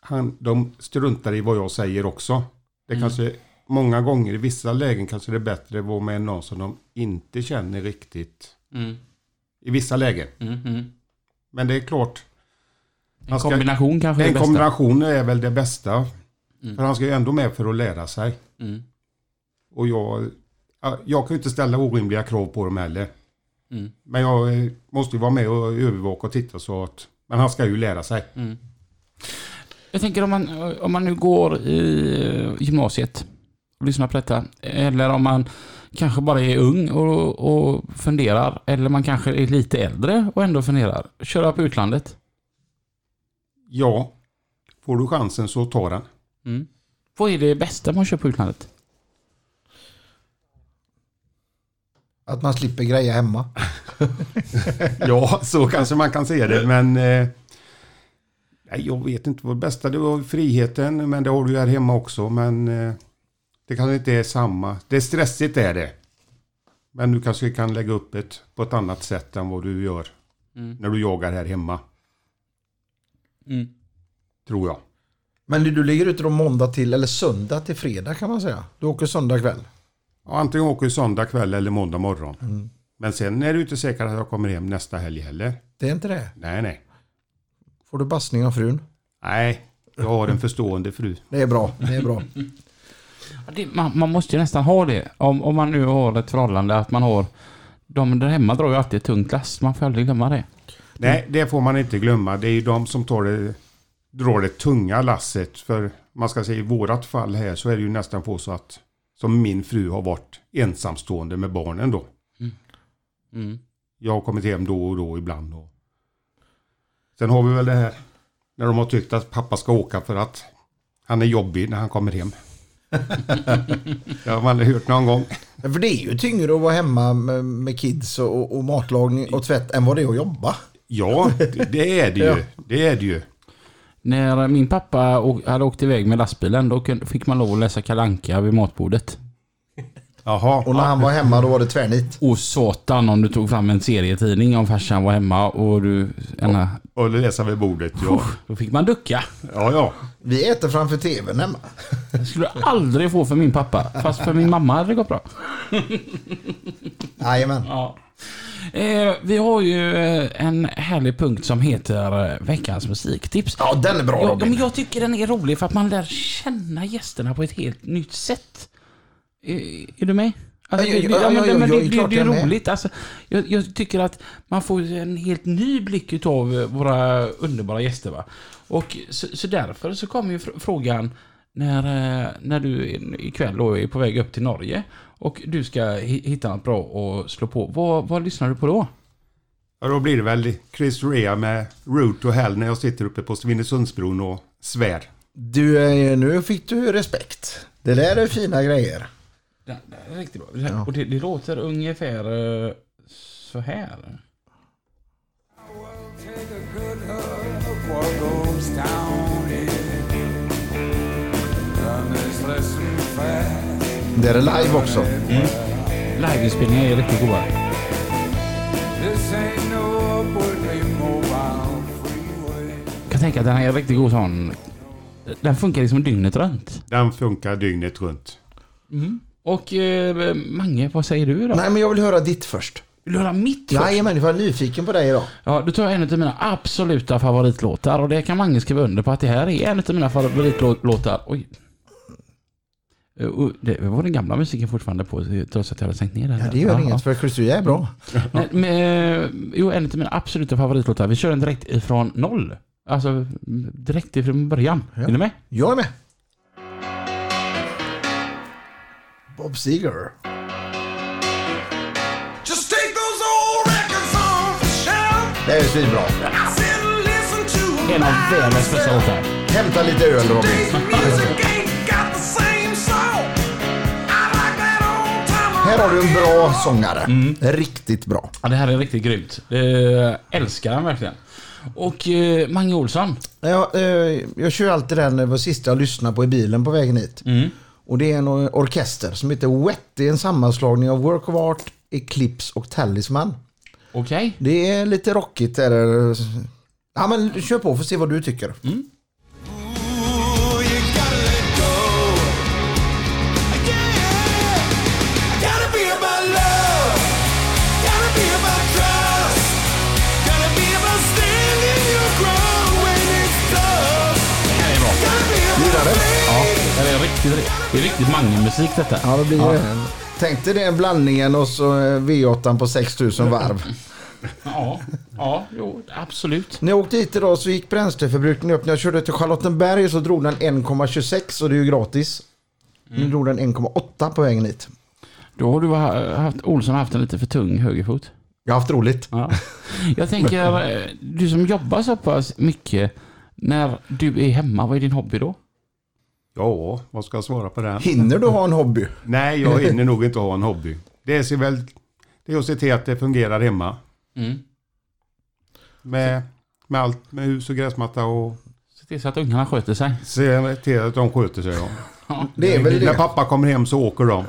han, de struntar i vad jag säger också. Det kanske många gånger i vissa lägen kanske det är bättre att vara med någon som de inte känner riktigt. I vissa lägen. Men det är klart.
En
Han ska-
kombination kanske är
Den
det bästa.
kombinationen är väl det bästa. För han ska ju ändå med för att lära sig.
Mm.
Och jag, ja, jag kan ju inte ställa orimliga krav på dem heller.
Mm.
Men jag eh, måste ju vara med och övervaka och titta så att... Men han ska ju lära sig.
Mm. Jag tänker om man, om man nu går i eh, gymnasiet och lyssnar på detta. Eller om man kanske bara är ung och, och funderar. Eller man kanske är lite äldre och ändå funderar. Köra på utlandet.
Ja, får du chansen så ta den. Mm.
Vad är det bästa man kör på utlandet?
Att man slipper greja hemma.
Ja, så kanske man kan se det. Men eh, nej, jag vet inte vad det bästa det var. Friheten, men det har du ju här hemma också. Men eh, det kanske inte är samma. Det är stressigt är det. Men du kanske kan lägga upp det på ett annat sätt än vad du gör när du jagar här hemma. Tror jag.
Men du ligger ute då måndag till eller söndag till fredag kan man säga. Du åker söndag kväll.
Ja, antingen åker du söndag kväll eller måndag morgon. Men sen är det ju inte säkert att jag kommer hem nästa helg heller.
Det är inte det.
Nej, nej.
Får du bassning av frun.
Nej, jag har en förstående fru.
Det är bra. Det är bra.
Ja, Det, man, man måste ju nästan ha det. Om, om man nu har ett förhållande att man har... De där hemma drar ju alltid ett tungt last. Man får aldrig glömma det.
Nej, det får man inte glömma. Det är ju de som tar det, drar det tunga lasset. För man ska säga i vårat fall här så är det ju nästan på så att som min fru har varit ensamstående med barnen då.
Mm.
Jag har kommit hem då och då ibland. Och. Sen har vi väl det här när de har tyckt att pappa ska åka för att han är jobbig när han kommer hem. det har man aldrig hört någon gång.
För det är ju tyngre att vara hemma med, med kids och, och matlagning och tvätt än vad det är att jobba.
Ja, det är det ju.
Ja.
Det är det ju.
När min pappa å- hade åkt iväg med lastbilen då kunde- fick man lov att läsa Kalle Anka vid matbordet.
Jaha.
Och när han var hemma då var det tvärnit.
Och satan om du tog fram en serietidning om farsan var hemma och du... Ena,
Och läsa vid bordet, ja.
då fick man ducka.
Ja, ja.
Vi äter framför tvn hemma.
Det skulle jag aldrig få för min pappa. Fast för min mamma hade det gått bra.
Jajamän.
Ja. Eh, vi har ju eh, en härlig punkt som heter eh, veckans musiktips.
Ja, den är bra
Ja, men
Robin.
jag tycker den är rolig för att man lär känna gästerna på ett helt nytt sätt. Eh, Är du med? Alltså,
Ja, ja,
det-
ja,
ja, men-
ja, ja,
men
ja,
det-
klart
det- Det är
jag är med.
roligt. Alltså, jag, jag tycker att man får en helt ny blick av våra underbara gäster. Va? Och så, så därför så kommer ju fr- frågan när, eh, när du i- ikväll då är på väg upp till Norge och du ska hi- hitta något bra att slå på. Vad, vad lyssnar du på då?
ja. Då blir det väl Chris Rea med Road to Hell när jag sitter uppe på Svinesundsbron och svär.
Du, eh, nu fick du respekt. Det där är fina grejer.
Den, den är riktigt bra. Och det, det låter ungefär eh, så här.
Take a good look at what goes down in Done this lesson fast
Det är live också.
Liveinspelningar är riktigt goda.
This ain't no upwardly mobile freeway
Jag kan tänka att den här är riktigt god sån. Den funkar liksom dygnet runt.
Den funkar dygnet runt.
Och eh, Mange, vad säger du då?
Nej, men jag vill höra ditt först.
Vill du höra mitt först?
Jajamän, jag var nyfiken på dig idag.
Ja, då tar jag en av mina absoluta favoritlåtar och det kan Mange skriva under på att det här är en av mina favoritlåtar. Oj. Eh, Och det var den gamla musiken fortfarande på trots att jag hade sänkt ner den.
Ja, det gör
Ja,
inget för Chris Rea är bra.
ja. Nej, men, eh, jo, en av mina absoluta favoritlåtar. Vi kör den direkt ifrån noll. Alltså mm, direkt ifrån början. Är ni med?
Jag är med. Bob Seger.
Just take those old records off the shelf
Det är ju svinbra.
I said listen to 'em
En av världens bästa
myself.
låtar.
Hämta lite öl Robin.
Today's music ain't got the same soul I like that old time
Här har du en bra sångare. Riktigt bra.
Ja, det här är riktigt grymt. Eh, älskar den verkligen. Och eh, Mange Olsson.
Jag, eh, jag kör alltid den, det var sista jag lyssnade på i bilen på vägen hit. Och det är en or- orkester som heter Wet. Det är en sammanslagning av Work of Art, Eclipse och Talisman.
Okej.
Det är lite rockigt eller... Ja men kör på får se vad du tycker.
Ooh, you gotta let go. Yeah, gotta be about love. Gotta be about trust. Gotta be about standing your ground when it's tough. Gotta be about faith.
Det är riktigt, det är riktigt Mange-musik detta.
Ja det blir ju det. Tänk dig den blandningen och så eh, V8 på 6000 varv.
Ja, ja, jo, absolut.
När jag åkte hit idag så gick bränsleförbrukningen upp. När jag körde till Charlottenberg så drog den 1,26 och det är ju gratis.
Mm.
Nu drog den 1,8 på vägen hit.
Då har du ha- haft, Olsson har haft en lite för tung högerfot.
Jag har haft roligt.
Ja. Jag tänker, eh, du som jobbar så pass mycket, när du är hemma, vad är din hobby då?
Ja, vad ska jag svara på den?
Hinner du ha en hobby?
Nej, jag hinner nog inte ha en hobby. Det ser väl... Det är att se till att det fungerar hemma.
Mm.
Med, med allt, med hus och gräsmatta och
Se till så att ungarna sköter sig.
se till att de sköter sig. Ja.
Det är väl
När
det.
pappa kommer hem så åker de.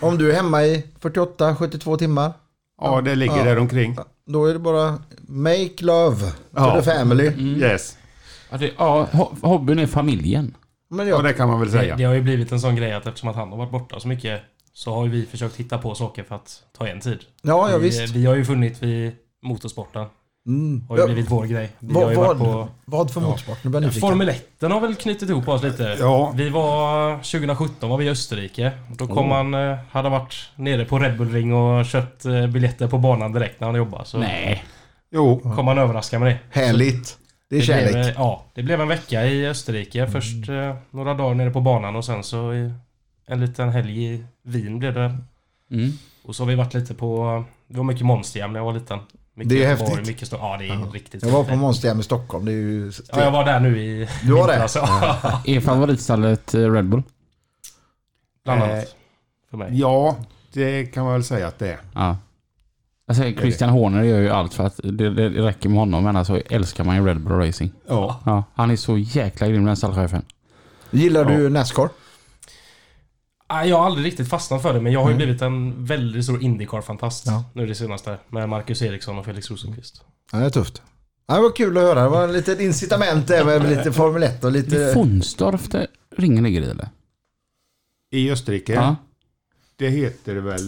Om du är hemma i 48-72 timmar.
Ja, det ligger där omkring.
Då är det bara make love to
Ja.
the family.
Yes,
Ja, det, ja, ho- hobbyn är familjen.
Men
ja,
jag,
det kan man väl
Det,
säga.
det har ju blivit en sån grej att eftersom att han har varit borta så mycket så har ju vi försökt hitta på saker för att ta en tid.
ja, ja
vi,
visst.
vi har ju funnit vid motorsporten.
Mm.
Har ju
Ja,
blivit vår grej. Vi har
vad,
ju varit
vad,
på...
vad för motorsport? Nu blir jag nyfiken.
Formel 1 har väl knutit ihop oss lite.
Ja.
Vi var... 2017 var vi i Österrike. Då kom han... eh, Hade varit nere på Red Bull Ring och köpt eh, biljetter på banan direkt när han jobbade. Så
Nej.
Jo,
kom han överraska med det.
Härligt. Det är
Det blev,
kärlek.
eh, ja, det blev en vecka i Österrike. Först eh, några dagar nere på banan och sen så i, en liten helg i Wien blev det.
Mm.
Och så har vi varit lite på... Det var mycket monsterjäm när jag var liten. Mycket
Det är
Göteborg,
häftigt.
Mycket stor, ja, det är riktigt
Jag var
fint.
på Monsterhjärm i Stockholm. Det är ju...
Ja, jag var där nu i... alltså,
Du var det?
vintras, ja.
Är favoritstallet eh, Red Bull?
Bland
Eh,
annat. För mig.
ja, det kan man väl säga att det är.
Ja. Alltså Christian Horner gör ju allt för att det, det räcker med honom men alltså älskar man ju Red Bull Racing.
Ja,
Ja, han är så jäkla grym den stallchefen.
Gillar du Nascar?
Nej, Jag har aldrig riktigt fastnat för det, men jag
Mm.
har ju blivit en väldigt stor Indycar-fantast
Ja.
nu det senaste. Med Marcus Eriksson och Felix Rosenqvist.
Ja, det är tufft. Ja, det var kul att höra. Det var ett litet incitament där med lite Formel 1 och
Det är
lite...
Fonstorp där ringen ligger i eller?
I Österrike.
Ja.
Det heter väl...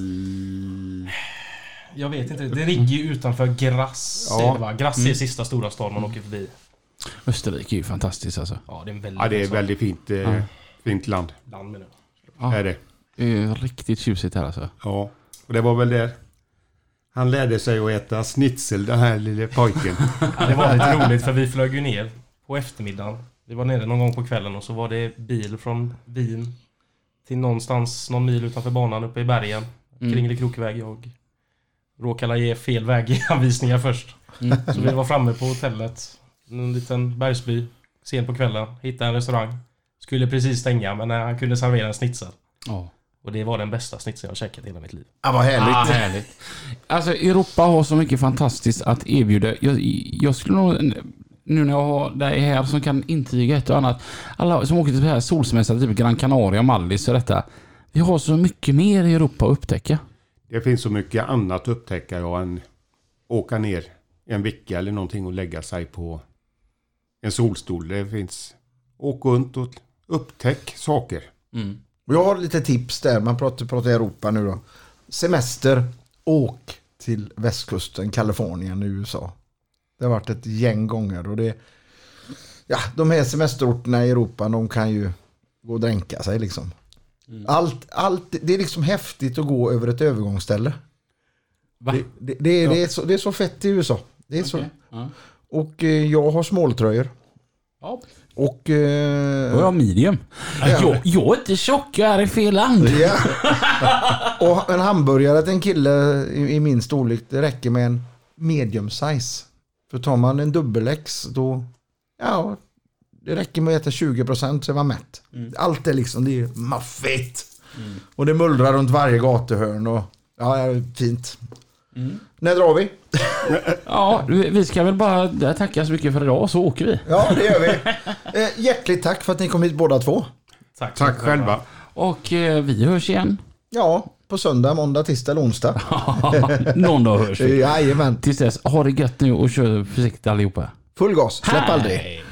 Jag vet inte, det ligger ju utanför Grass.
Ja. Mm.
Ja. Va? Grass är sista stora stad man åker förbi.
Österrike är ju fantastiskt alltså.
Ja, det är en väldigt
Ja, det är
bra
väldigt fint, eh, fint land.
stad. Land menar jag.
Ja.
Är det.
Det är ju riktigt tjusigt här alltså.
Ja. Och det var väl där. Han lärde sig att äta schnitzel, den här lille pojken.
Ja, det var lite roligt för vi flög ju ner på eftermiddagen. Vi var nere någon gång på kvällen och så var det bil från Wien till någonstans någon mil utanför banan uppe i bergen.
Mm.
Kringlig krokväg. Jag råkade ge fel väganvisningar först. Så vi var framme på hotellet, en liten bergsby, sen på kvällen. Hittade en restaurang. Skulle precis stänga men eh, han kunde servera en snitsel.
Ja.
Och det var den bästa snitsen jag har käkat i hela mitt liv.
Ja, vad härligt.
Ah, härligt. Alltså Europa har så mycket fantastiskt att erbjuda. Jag, jag skulle nog, nu när jag har dig här som kan intyga ett och annat. Alla som åker till så här solsemestrar, typ Gran Canaria, Mallis och detta. Vi har så mycket mer i Europa att upptäcka.
Det finns så mycket annat att upptäcka jag än åka ner en vecka eller någonting och lägga sig på en solstol. Det finns... Åk runt och upptäck saker.
Och Jag har lite tips där. Man pratar, pratar Europa nu då. Semester. Åk till västkusten, Kalifornien i USA. Det har varit ett gäng gånger och det... Ja, de här semesterorterna i Europa, de kan ju gå och dränka sig liksom.
Mm.
Allt, allt, det är liksom häftigt att gå över ett övergångsställe.
Va?
Det, det, det, är- det, är, så, det är så fett i USA. Det är så.
Ja.
Och eh, jag har småltröjor.
Ja.
Och... Eh,
Då är jag medium. Jag, jag är inte tjock, jag är i fel land.
Ja. Och en hamburgare till en kille i, i min storlek, det räcker med en medium size. För tar man en dubbel-X då, ja, det räcker med att äta 20% så är man mätt. Allt är liksom, det är maffigt. Och det mullrar runt varje gatuhörn och, ja, det är fint. När drar vi?
Ja, vi vi ska väl bara tacka så mycket för idag så åker vi.
Ja, det gör vi. Eh, hjärtligt tack för att ni kom hit båda två.
Tack,
Tack själva.
Och eh, vi hörs igen.
Ja, på söndag, måndag, tisdag eller onsdag.
Någon dag hörs vi.
Jajamän.
Tills dess, ha det gött nu och kör försiktigt allihopa.
Full gas, släpp aldrig.
Hej!